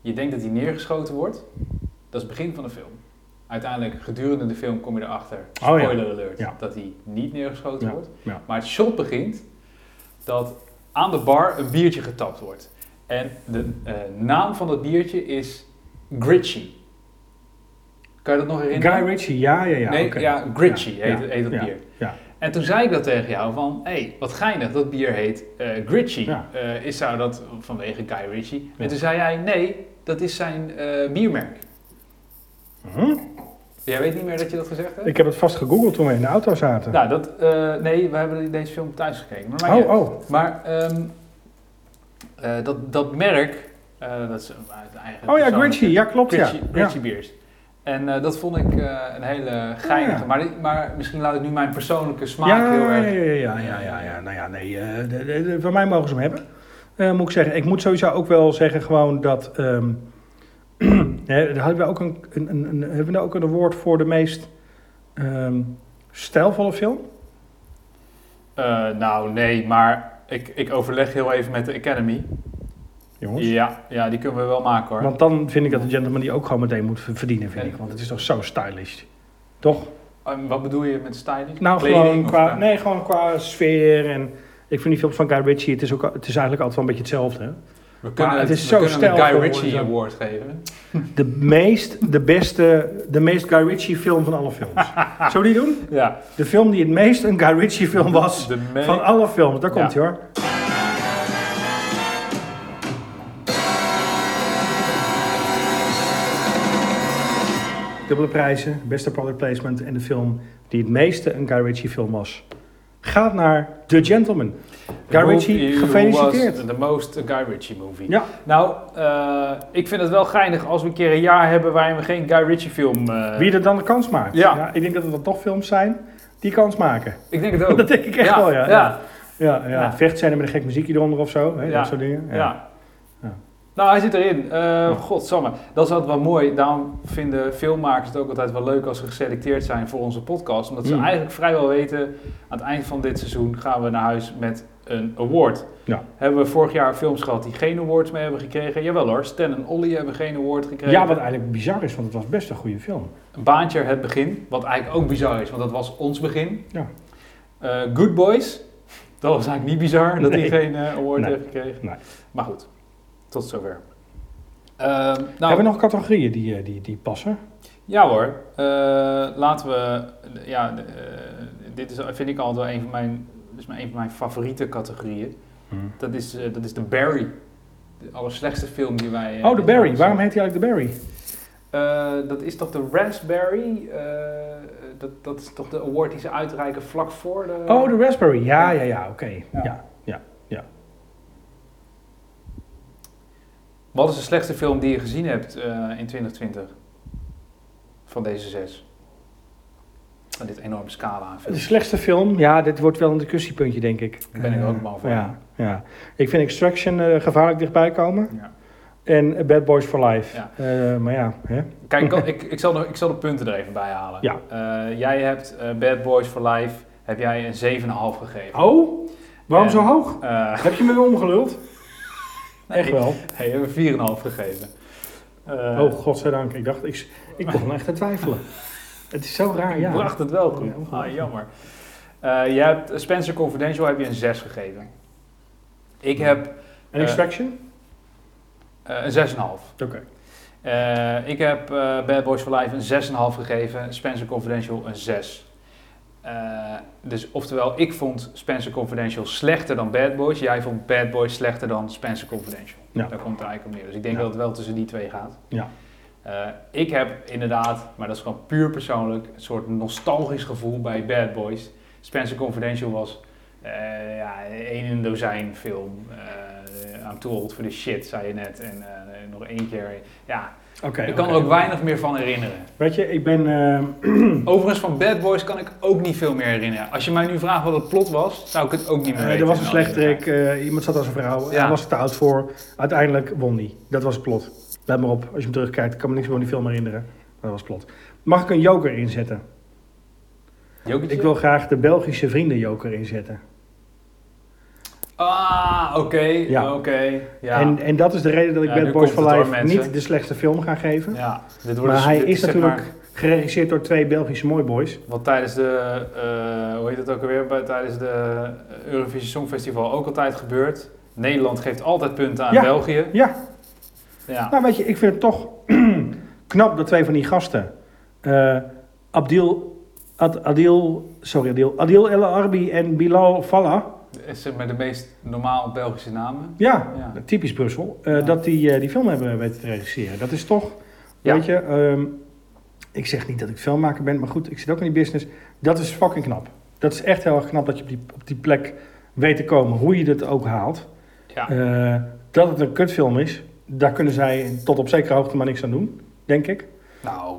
Je denkt dat hij neergeschoten wordt. Dat is het begin van de film. Uiteindelijk, gedurende de film, kom je erachter,
Oh ja.
spoiler alert,
Ja.
dat hij niet neergeschoten
Ja,
wordt.
ja.
Maar het shot begint dat aan de bar een biertje getapt wordt. En de eh, naam van dat biertje is Gritchy. Kan je dat nog herinneren?
Guy Ritchie, ja, ja, ja.
nee,
oké.
ja, Gritchy
Ja,
heet,
ja,
heet dat
ja,
bier.
ja.
En toen zei ik dat tegen jou van, hé, hey, wat geinig, dat bier heet eh Gritchy.
Ja.
Eh, is zou dat vanwege Guy Ritchie?
Ja.
En toen zei jij, nee, dat is zijn eh, biermerk.
Mhm.
Jij weet niet meer dat je dat gezegd hebt?
Ik heb het vast gegoogeld toen we in de auto zaten.
Nou, dat, eh, nee, we hebben deze film thuis gekeken. Maar, maakt niet
oh, oh.
uit. maar ehm, eh, dat, dat merk, eh, dat is een- uit eigen...
Oh ja,
persoonlijke-
Gritchie, ja, klopt, ja.
Gritchy,
ja.
Gritchy beers. En eh, dat vond ik eh, een hele geinige.
Ja.
Maar, die- maar misschien laat ik nu mijn persoonlijke smaak
Ja,
heel
ja,
erg...
ja, ja, ja, ja, ja. Nou ja, nee, eh, de- de- de- van mij mogen ze hem hebben. Eh, moet ik zeggen, ik moet sowieso ook wel zeggen gewoon dat... ehm, hè, daar hadden we ook een, een, een, een- hebben we nou ook een award voor de meest ehm, stijlvolle film?
Eh, nou, nee, maar ik, ik overleg heel even met de Academy.
Jongens.
Ja, ja, die kunnen we wel maken hoor.
Want dan vind ik dat de gentleman die ook gewoon meteen moet ver- verdienen, vind ik. Want het is toch zo stylish. Toch?
En wat bedoel je met styling?
Nou,
Kleding
gewoon
of-
qua, nee, gewoon qua sfeer en... Ik vind die films van Guy Ritchie, het is, ook, het is eigenlijk altijd wel een beetje hetzelfde. Hè?
We kunnen,
Maar
het
het
is
is
we
zo
kunnen hem een Guy
stijlvol,
Ritchie
hoor, zo.
Award geven.
De meest, de beste, de meest Guy Ritchie film van alle films. Zullen we die doen?
Ja,
De film die het meest een Guy Ritchie film was
de me-
van alle films. Daar
Ja.
komt hij hoor. Dubbele prijzen, beste product placement en de film die het meeste een Guy Ritchie film was. Gaat naar The Gentleman.
The
Guy
movie
Ritchie,
who
gefeliciteerd.
was The most Guy Ritchie movie.
Ja.
Nou, eh, ik vind het wel geinig als we een keer een jaar hebben waarin we geen Guy Ritchie film... eh,
Wie er dan de kans maakt.
Ja.
ik denk dat er dan toch films zijn die kans maken.
Ik denk het ook.
Dat denk ik echt wel, ja.
Ja,
Ja, ja.
Ja.
vechtscènes met een gek muziekje eronder of zo. Hè,
Ja.
Dat soort dingen.
ja.
Ja.
Nou, hij zit erin. Eh Godsamme. Dat is altijd wel mooi. Daarom vinden filmmakers het ook altijd wel leuk als ze geselecteerd zijn voor onze podcast. Omdat ze
Mm.
eigenlijk vrijwel weten, aan het eind van dit seizoen gaan we naar huis met een award.
Ja.
Hebben we vorig jaar films gehad die geen awards mee hebben gekregen? Jawel hoor, Stan en Ollie hebben geen award gekregen.
Ja, Nou. wat eigenlijk bizar is, want het was best een goede film.
Een baantje het begin, wat eigenlijk ook bizar is, want dat was ons begin.
Ja.
Eh, Good Boys, dat was eigenlijk niet bizar dat
Nee.
hij geen eh, award
Nee.
heeft gekregen.
Nee.
Maar goed, tot zover. Ehm, nou,
Hebben we nog categorieën die, eh, die, die passen?
Ja hoor, Eh, laten we. Ja, eh, dit is, vind ik altijd wel een van mijn, dit is mijn- een van mijn favoriete categorieën.
Hm.
Dat is, eh, dat is de Barry. De allerslechtste film die wij. eh,
Oh, de
dit
Barry.
jaar
Waarom
zien.
heet hij eigenlijk de Barry?
Eh, dat is toch de Raspberry? Eh, dat, dat is toch de award die ze uitreiken vlak voor de...
Oh, de Raspberry. Ja, ja, ja. Oké. Ja. Ja.
Wat is de slechtste film die je gezien hebt eh, in 2020? Van deze zes. Van dit enorme scala aan
De
films.
slechtste film. Ja, dit wordt wel een discussiepuntje, denk ik. Eh,
Daar ben ik ook bang voor.
Ja, ja. Ik vind Extraction eh, gevaarlijk dichtbij komen.
Ja.
En Bad Boys for Life.
Ja.
Eh, maar ja, hè?
Kijk, ik, kan- ik, ik, zal de, ik zal de punten er even bij halen.
Ja.
Eh, jij hebt eh, Bad Boys for Life, heb jij een 7,5 gegeven.
Oh, waarom
En-
zo hoog?
Eh,
Heb je me weer omgeluld? Echt wel.
nee, je hebt een 4,5 gegeven. Eh,
Oh, godzijdank. Ik dacht, ik, ik begon echt te twijfelen. Het is zo raar,
Je
Ah, ja.
bracht het wel goed.
Ja, goed.
ah, jammer. Eh, jij hebt Spencer Confidential heb je een 6 gegeven. Ik heb
En Extraction?
eh, een 6,5.
Oké.
Eh, ik heb eh, Bad Boys for Life een 6,5 gegeven. Spencer Confidential een 6. Eh, dus oftewel, ik vond Spencer Confidential slechter dan Bad Boys. Jij vond Bad Boys slechter dan Spencer Confidential.
Ja.
Daar komt het eigenlijk op neer. Dus ik denk
Ja.
dat het wel tussen die twee gaat.
Ja.
Eh, ik heb inderdaad, maar dat is gewoon puur persoonlijk, een soort nostalgisch gevoel bij Bad Boys. Spencer Confidential was eh ja, één in een dozijn film. Eh I'm too old for this shit, zei je net. En eh, nog één keer. Ja,
Oké.
ik kan er ook weinig meer van herinneren.
Weet je, ik ben... eh,
Overigens, van Bad Boys kan ik ook niet veel meer herinneren. Als je mij nu vraagt wat het plot was, zou ik het ook niet meer
eh,
weten.
er was een
in alle
slechterik.
eerlijkheid.
eh, iemand zat als een vrouw.
Ja.
Hij was er te oud voor. Uiteindelijk won die. Dat was het plot. Let maar op. Als je hem terugkijkt, ik kan me niks meer van die film herinneren. Maar Dat was het plot. Mag ik een joker inzetten?
Jokertje?
Ik wil graag de Belgische vriendenjoker inzetten.
Ah, oké.
Ja.
Oké. ja.
En, en dat is de reden dat ik
Ja, nu
Bad Boys
komt
for
het
Life
hoor, mensen.
niet de slechtste film ga geven.
ja. Dit wordt
maar
dus-
hij
dit
is
zeg
natuurlijk
maar
geregisseerd door twee Belgische mooiboys.
Wat tijdens de, eh, hoe heet het ook alweer, bij, tijdens de eh, Eurovisie Songfestival ook altijd gebeurt. Nederland geeft altijd punten aan
Ja.
België.
Ja,
Ja.
Nou, weet je, ik vind het toch knap dat twee van die gasten, eh, Abdil, Ad- Adil, sorry, Adil, Adil El Arbi en Bilal Fallah,
Is het met de meest normaal Belgische namen.
ja,
Ja.
typisch Brussel, eh,
Ja.
dat die eh, die film hebben weten te regisseren. Dat is toch,
Ja.
weet je, ehm, ik zeg niet dat ik filmmaker ben, maar goed, ik zit ook in die business. Dat is fucking knap. Dat is echt heel erg knap dat je op die, op die plek weet te komen, hoe je dit ook haalt.
Ja.
Eh, dat het een kutfilm is, daar kunnen zij tot op zekere hoogte maar niks aan doen, denk ik.
Nou,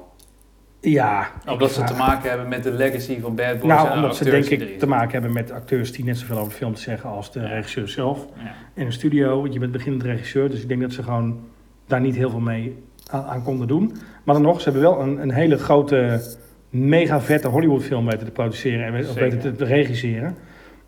Ja.
omdat ze
Ja.
te maken hebben met de legacy van Bad Boys en
Nou,
de
omdat ze denk
acteurs
ik
die erin
te maken hebben met acteurs die net zoveel over de film te zeggen als de
Ja.
regisseur zelf.
zitten. Ja.
En een studio, want je bent beginnend regisseur, dus ik denk dat ze gewoon daar niet heel veel mee aan, aan konden doen. Maar dan nog, ze hebben wel een, een hele grote, mega vette Hollywoodfilm weten te produceren en we- of
Zeker.
weten te, te regisseren.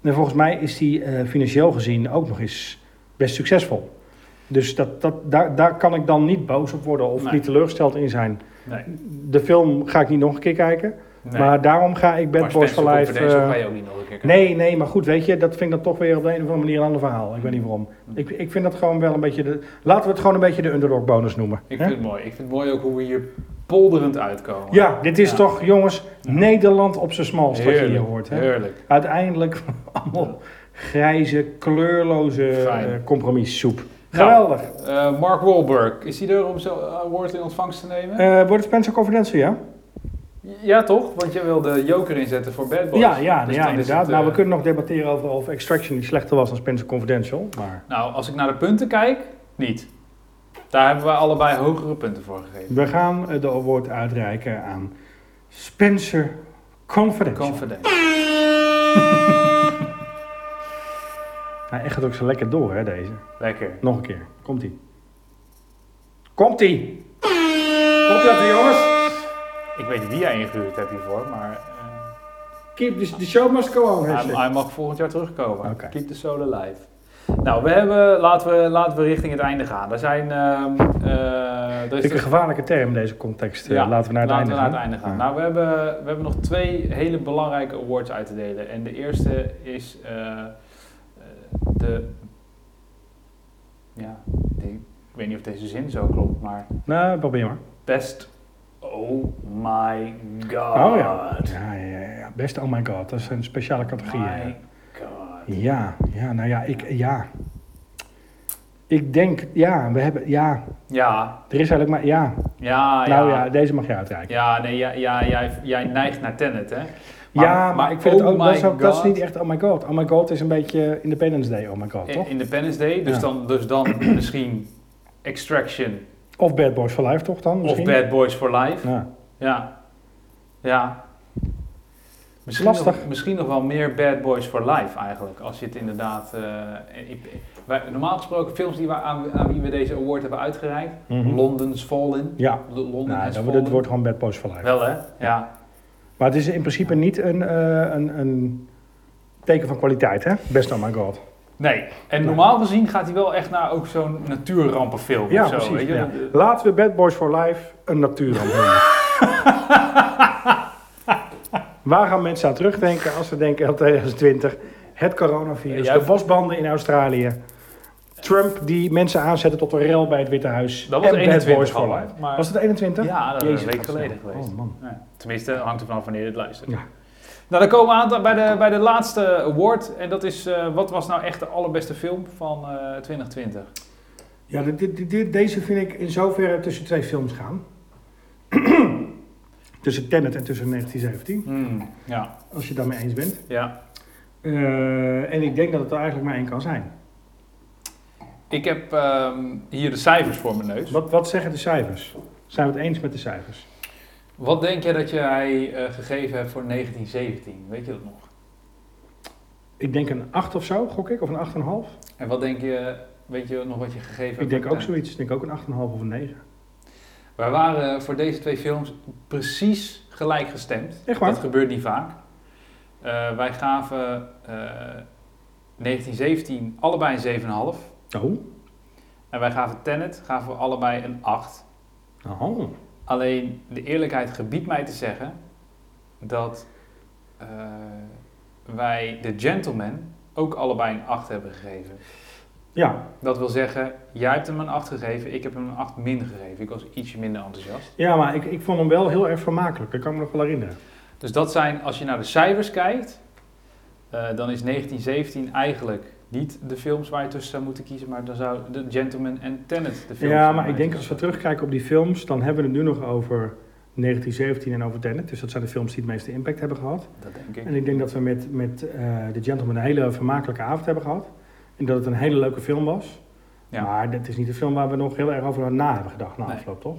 En volgens mij is die eh, financieel gezien ook nog eens best succesvol. Dus dat, dat, daar, daar kan ik dan niet boos op worden of
Nee.
niet teleurgesteld in zijn.
Nee.
De film ga ik niet nog een keer kijken.
nee.
Maar daarom ga ik Bad
Maar
Boys
Spencer
for Life...
Confidential
eh,
ga je ook niet nog een keer kijken.
nee, nee, maar goed, weet je, dat vind ik dan toch weer op de een of andere manier een ander verhaal. Ik weet niet waarom. Ik, ik vind dat gewoon wel een beetje de... Laten we het gewoon een beetje de underdog bonus noemen.
Ik
hè?
vind het mooi. Ik vind het mooi ook hoe we hier polderend uitkomen.
Ja, dit is
Ja.
toch, jongens,
Ja.
Nederland op zijn smalst wat je hier
Heerlijk,
hoort. Hè?
Heerlijk.
Uiteindelijk allemaal grijze, kleurloze
Fijn.
eh, compromissoep.
Nou.
Geweldig.
Eh, Mark Wahlberg, is hij er om zo'n award in ontvangst te nemen?
Eh, wordt het Spencer Confidential, ja?
Ja, toch? Want je wil de joker inzetten voor Bad Boys.
Ja, ja,
Dus
ja
dan is
inderdaad.
het, eh,
nou, we kunnen nog debatteren over of Extraction die slechter was dan Spencer Confidential. Maar
Nou, als ik naar de punten kijk, niet. Daar hebben we allebei hogere punten voor gegeven.
we gaan eh, de award uitreiken aan Spencer Confidential.
Confident.
Hij echt ook zo lekker door, hè, deze.
Lekker.
Nog een keer. Komt-ie. Komt-ie! Opletten, jongens.
Ik weet niet wie jij ingehuurd hebt hiervoor, maar eh,
Keep the, the show must go on.
hij,
hashtag.
hij mag volgend jaar terugkomen.
Oké.
Keep the soul alive. Nou, we hebben, laten, we, laten we richting het einde gaan. Er zijn... ehm, eh, er is
Vind ik een gevaarlijke term in deze context. Eh,
Ja,
laten we naar het
Laten
einde
we
gaan.
naar het einde gaan.
Ja.
Nou, we hebben, we hebben nog twee hele belangrijke awards uit te delen. En de eerste is eh, eh, de. Ja, die- ik weet niet of deze zin zo klopt, maar.
Nou, probeer maar.
Best. Oh my god.
Oh ja. Ja, ja, ja, ja. Best oh my god. Dat is een speciale categorie. hè.
My god.
Ja, ja, nou ja, ik, ja. Ik denk, ja, we hebben, ja.
Ja,
Er is eigenlijk maar, ja.
Ah, ja, ja.
nou ja, deze mag je uitreiken.
Ja, nee, ja, ja, jij, jij neigt naar Tenet, hè?
Ja, maar, ik vind
oh
het ook, dat
my
is, ook- dat is
god.
niet echt oh my god. Oh my god is een beetje Independence Day, oh my god,
In-
toch?
Independence Day, dus,
Ja.
dan, dus dan misschien Extraction
Of Bad Boys for Life, toch dan? Misschien?
of Bad Boys for Life.
Ja.
Ja. Ja. Misschien
Lastig.
Nog, misschien nog wel meer Bad Boys for Life eigenlijk. Als je het inderdaad... eh, ik- wij- normaal gesproken films die we, aan, aan wie we deze award hebben uitgereikt.
Mhm.
London's Fallen.
Ja,
L- London
nou,
has
dan,
fallen.
dit wordt gewoon Bad Boys for Life.
Wel hè? Ja.
Maar het is in principe niet een, eh, een, een teken van kwaliteit, hè? Best oh my god.
Nee. En normaal gezien gaat hij wel echt naar ook zo'n natuurrampenfilm
Ja,
of zo.
precies.
weet je?
ja. Laten we Bad Boys for Life een natuurramp noemen. Waar gaan mensen aan terugdenken als ze denken aan 2020? Het coronavirus,
Jij-
de wasbanden in Australië. Trump die mensen aanzetten tot een rel bij het Witte Huis.
Dat was
en Bad
21
Boys
al,
for
hè?
Life.
Maar-
Was het 21?
Ja, dat is een week
wat
geleden
snel.
geweest.
Oh man.
Ja, Tenminste, hangt ervan af wanneer je dit luistert.
Ja.
Nou, dan komen we aan t- bij de, bij de laatste award. En dat is, eh, wat was nou echt de allerbeste film van eh, 2020?
Ja, dit- dit- dit- deze vind ik in zoverre tussen twee films gaan. tussen Tenet en tussen 1917.
Hmm, ja,
Als je het daarmee eens bent.
ja.
Eh, en ik denk dat het er eigenlijk maar één kan zijn.
Ik heb ehm, hier de cijfers voor mijn neus.
Wat, wat zeggen de cijfers? Zijn we het eens met de cijfers?
Wat denk jij dat jij eh, gegeven hebt voor 1917? Weet je dat nog?
Ik denk een 8 of zo, gok ik, of een 8,5.
En wat denk je, weet je nog wat je gegeven hebt?
Ik denk
voor
ook
Tenet?
zoiets. Ik denk ook een 8,5 of een 9.
Wij waren voor deze twee films precies gelijk gestemd.
Echt waar?
Dat gebeurt niet vaak. Eh, wij gaven eh, 1917 allebei een 7,5.
Oh.
En wij gaven Tenet gaven we allebei een 8.
oh.
Alleen de eerlijkheid gebiedt mij te zeggen dat eh, wij The Gentleman ook allebei een 8 hebben gegeven.
Ja.
Dat wil zeggen, jij hebt hem een 8 gegeven, ik heb hem een 8 min gegeven. Ik was ietsje minder enthousiast.
ja, maar ik, ik vond hem wel heel erg vermakelijk. Dat kan ik me nog wel herinneren.
Dus dat zijn, als je naar de cijfers kijkt, eh, dan is 1917 eigenlijk niet de films waar je tussen zou moeten kiezen, maar dan zou The Gentleman en Tenet de films
Ja,
zijn
maar
waar
ik
je
denk als
tussen
we terugkijken op die films, dan hebben we het nu nog over 1917 en over Tenet. Dus dat zijn de films die het meeste impact hebben gehad.
zou- Dat denk ik.
En ik denk dat we met, met eh The Gentleman een hele vermakelijke avond hebben gehad. En dat het een hele leuke film was.
Ja.
Maar dat is niet de film waar we nog heel erg over na hebben gedacht na
Nee.
afloop, toch?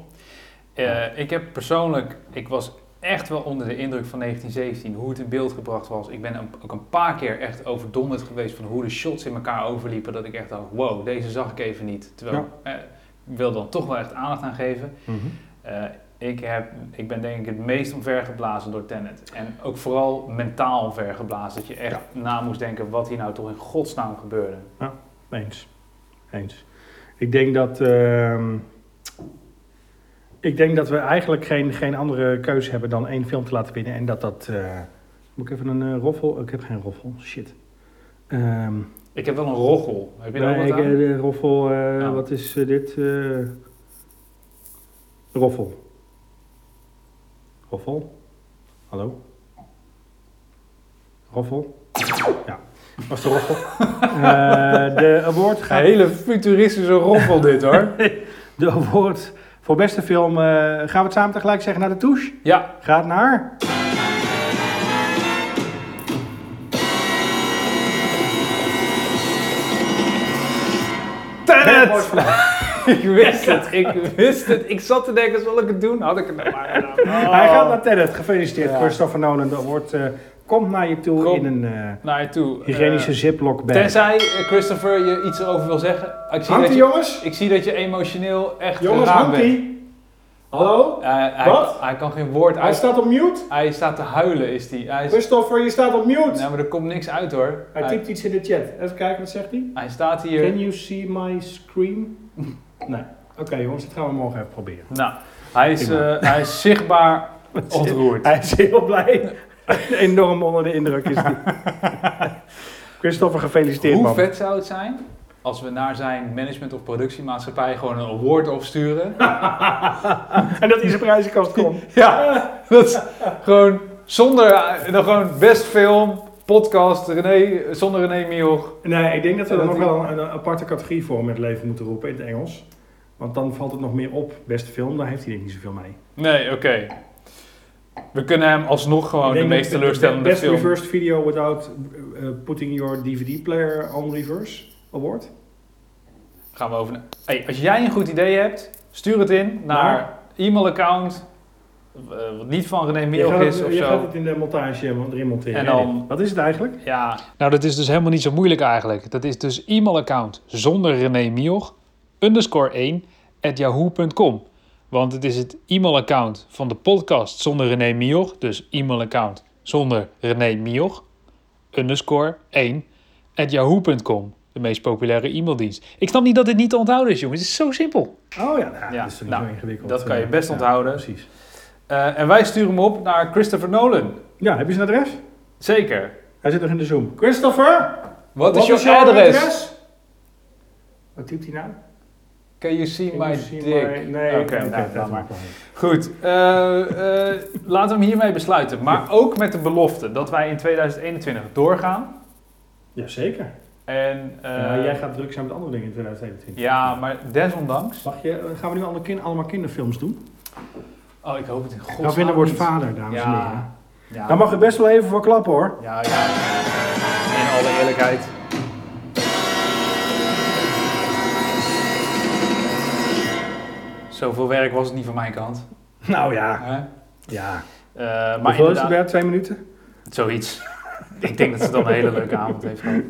Eh, ik heb persoonlijk, ik was echt wel onder de indruk van 1917, hoe het in beeld gebracht was. Ik ben een- ook een paar keer echt overdonderd geweest van hoe de shots in elkaar overliepen, dat ik echt dacht, wow, deze zag ik even niet. Terwijl eh, ik wil dan toch wel echt aandacht aan geven. Eh, ik, heb, ik ben denk ik het meest omvergeblazen door Tenet. En ook vooral mentaal omvergeblazen. Dat je echt na moest denken wat hier nou toch in godsnaam gebeurde.
Eens. Eens. Ik denk dat. ehm, ik denk dat we eigenlijk geen, geen andere keuze hebben dan één film te laten winnen. En dat dat. eh, moet ik even een eh, roffel? Ik heb geen roffel. Shit. Ehm,
Ik heb wel een roggel. Heb je daar
nee,
ook
ik,
wat
eh,
aan?
de roffel. eh,
Ja.
Wat is eh, dit? eh, roffel. Roffel? Hallo? Roffel? Ja, was de roffel. Eh, de award
Een
gaat
hele futuristische roggel dit hoor.
De award Voor beste film eh, gaan we het samen tegelijk zeggen naar de touche.
Ja,
Gaat naar. Tenet!
ik wist het. Ik wist het. Ik zat te denken, zal ik het doen? Had ik het nou maar gedaan. Oh.
Hij gaat naar Tenet. Gefeliciteerd,
Ja.
Christopher Nolan. De award eh, komt naar je toe
Kom.
in een eh,
naar je toe.
hygiënische
Eh,
ziplock bag.
tenzij, eh, Christopher, je iets over wil zeggen. Ik zie,
Hangt
dat
die
je,
jongens?
ik zie dat je emotioneel echt
Jongens,
raar
hangt
bent.
die? Hallo?
Eh, hij,
Wat?
hij kan geen woord
Hij
uit.
staat op mute?
Hij staat te huilen, is die. Hij is,
Christopher, je staat op mute!
nou, maar er komt niks uit hoor.
Hij typt iets in de chat. Even kijken, wat zegt hij?
hij staat hier.
Can you see my screen? nee. Oké jongens,
Dat gaan we morgen even proberen.
Nou, hij is,
Prima.
eh, hij is zichtbaar ontroerd.
Hij is heel blij. Enorm onder de indruk is die. Christopher, gefeliciteerd
Hoe
man.
vet zou het zijn als we naar zijn management of productiemaatschappij gewoon een award opsturen?
En dat is op prijzenkast komt.
ja, dat is gewoon zonder, eh, dan gewoon best film, podcast, René, zonder René Mioch.
Nee, ik denk dat we er
Dat
nog
die-
wel een, een aparte categorie voor met leven moeten roepen in het Engels. Want dan valt het nog meer op. Beste film, daar heeft hij denk ik niet zoveel mee.
Nee, oké. We kunnen hem alsnog gewoon
Ik
de
denk
meest
dat-
teleurstellende
Best
film...
reversed video without eh, putting your DVD player on reverse award.
Gaan we over... na- Hey, als jij een goed idee hebt, stuur het in naar
Naar?
e-mailaccount, eh, wat niet van René
je
Mioch
gaat,
is
het,
of
je
zo.
gaat het in de montage erin monteren.
En dan-
Wat is het eigenlijk?
Ja. Nou, dat is dus helemaal niet zo moeilijk eigenlijk. Dat is dus e-mailaccount zonder René Mioch, underscore 1, at yahoo.com. Want het is het e-mailaccount van de podcast zonder René Mioch, dus e-mailaccount zonder René Mioch, underscore 1, at yahoo.com. De meest populaire e-maildienst. Ik snap niet dat dit niet te onthouden is, jongens. Het is zo simpel.
Oh ja, nou,
Ja,
dat is toch niet
nou,
zo ingewikkeld.
dat kan je
Eh,
best
ja,
onthouden.
Precies.
Eh, en wij sturen hem op naar Christopher Nolan.
Ja, heb je zijn adres?
Zeker.
Hij zit nog in de Zoom.
Christopher!
Wat
Wat is jouw adres?
Wat typt hij nou?
Can you see
Ik zie maar- Nee,
Oké, nou, laat maar. Goed, eh, eh, laten we hem hiermee besluiten. Maar ook met de belofte dat wij in 2021 doorgaan.
Jazeker.
En, eh,
Ja, jij gaat druk zijn met andere dingen in 2021.
ja, maar desondanks.
Mag je, eh, gaan we nu alle kin- allemaal kinderfilms doen?
Oh, ik hoop het in godsnaam
Ravinder wordt
niet.
vader, dames en
Ja.
heren.
Ja,
Daar Nou, mag je best wel even voor klappen hoor.
Ja, ja. In alle eerlijkheid. Zoveel werk was het niet van mijn kant.
Nou ja.
Hè?
ja.
Eh, maar
Maar Hoeveel is het
inderdaad,
Bert? Twee minuten?
zoiets. ik denk dat ze dan een hele leuke avond heeft gehad.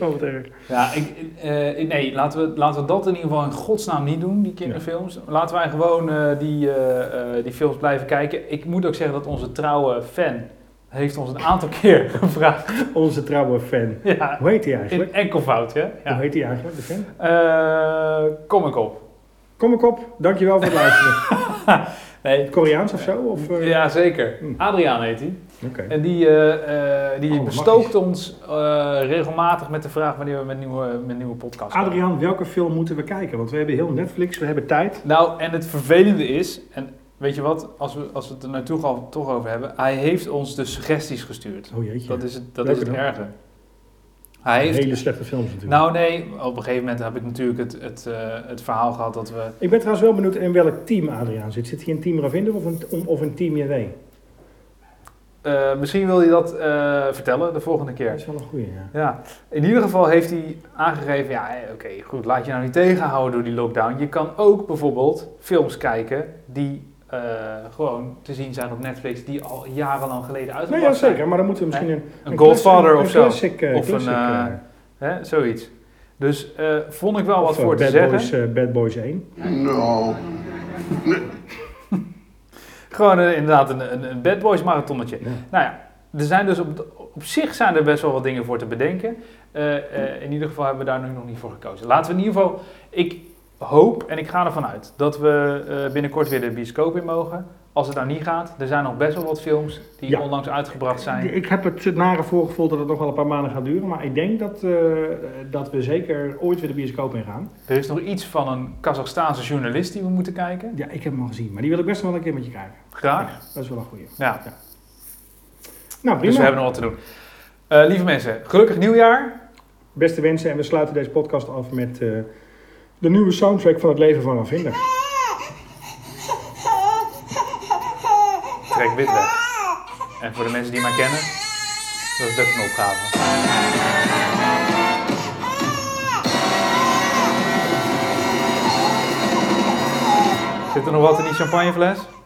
Oh, wat erg.
Ja, ik, eh, eh, nee, laten we, laten we dat in ieder geval in godsnaam niet doen, die kinderfilms. Laten wij gewoon eh, die, eh, eh, die films blijven kijken. Ik moet ook zeggen dat onze trouwe fan heeft ons een aantal keer gevraagd.
Onze trouwe fan.
Ja,
Hoe heet hij
in
eigenlijk?
enkelvoud, hè?
Hoe
Ja.
heet hij eigenlijk, de fan?
Eh, kom ik op.
Kom ik op. Dankjewel voor het luisteren.
Nee.
Koreaans of zo? Of, eh,
Ja, zeker.
Hm.
Adriaan heet hij.
Oké.
En die, eh, eh, die
Oh,
bestookt ons eh, regelmatig met de vraag wanneer we met nieuwe, met nieuwe podcasts komen.
Adriaan, welke film moeten we kijken? Want we hebben heel Netflix, we hebben tijd.
Nou, en het vervelende is, en weet je wat, als we, als we het er naartoe gaan, toch over hebben, hij heeft ons dus suggesties gestuurd.
Oh jeetje.
Dat is het, dat is
Welke
het
dan?
erge. Hij heeft.
Hele slechte films natuurlijk.
Nou nee, op een gegeven moment heb ik natuurlijk het, het, eh, het verhaal gehad dat we.
Ik ben trouwens wel benieuwd in welk team Adriaan zit. Zit hij in team Ravinder of een, of een team JW?
Eh, misschien wil je dat eh, vertellen de volgende
Dat
keer.
is wel een goeie, ja.
Ja, in ieder geval heeft hij aangegeven, ja eh, oké, goed, laat je nou niet tegenhouden door die lockdown. Je kan ook bijvoorbeeld films kijken die eh, gewoon te zien zijn op Netflix, die al jarenlang geleden
Nee,
uitgebracht
ja,
zijn.
zeker. Maar dan moeten we misschien een,
Een Goldfather
classic-
of zo.
Classic, eh,
Of een,
classic,
eh,
eh,
Hè? Zoiets. Dus eh, vond ik wel wat
of, eh,
voor te
Bad
zeggen.
Boys, eh, Bad Boys 1.
No.
Gewoon eh, inderdaad een, een, een Bad Boys marathonnetje.
Ja.
Nou ja, er zijn dus op, op zich zijn er best wel wat dingen voor te bedenken. Eh, eh, in ieder geval hebben we daar nu nog niet voor gekozen. Laten we in ieder geval, ik hoop en ik ga ervan uit dat we eh, binnenkort weer de bioscoop in mogen. Als het nou niet gaat, er zijn nog best wel wat films die
Ja.
onlangs uitgebracht zijn.
Ik heb het nare voorgevoel dat het nog wel een paar maanden gaat duren. Maar ik denk dat, eh, dat we zeker ooit weer de bioscoop in gaan.
Er is nog iets van een Kazachstaanse journalist die we moeten kijken.
Ja, ik heb hem al gezien. Maar die wil ik best wel een keer met je kijken.
Graag.
Dat is wel een goeie.
Ja.
Nou, prima.
Dus we hebben nog wat te doen. Eh, lieve mensen, gelukkig nieuwjaar.
Beste wensen. En we sluiten deze podcast af met eh, de nieuwe soundtrack van het leven van Ravinder.
Jack Witweg. En voor de mensen die mij kennen, dat is best een opgave. Zit er nog wat in die champagnefles?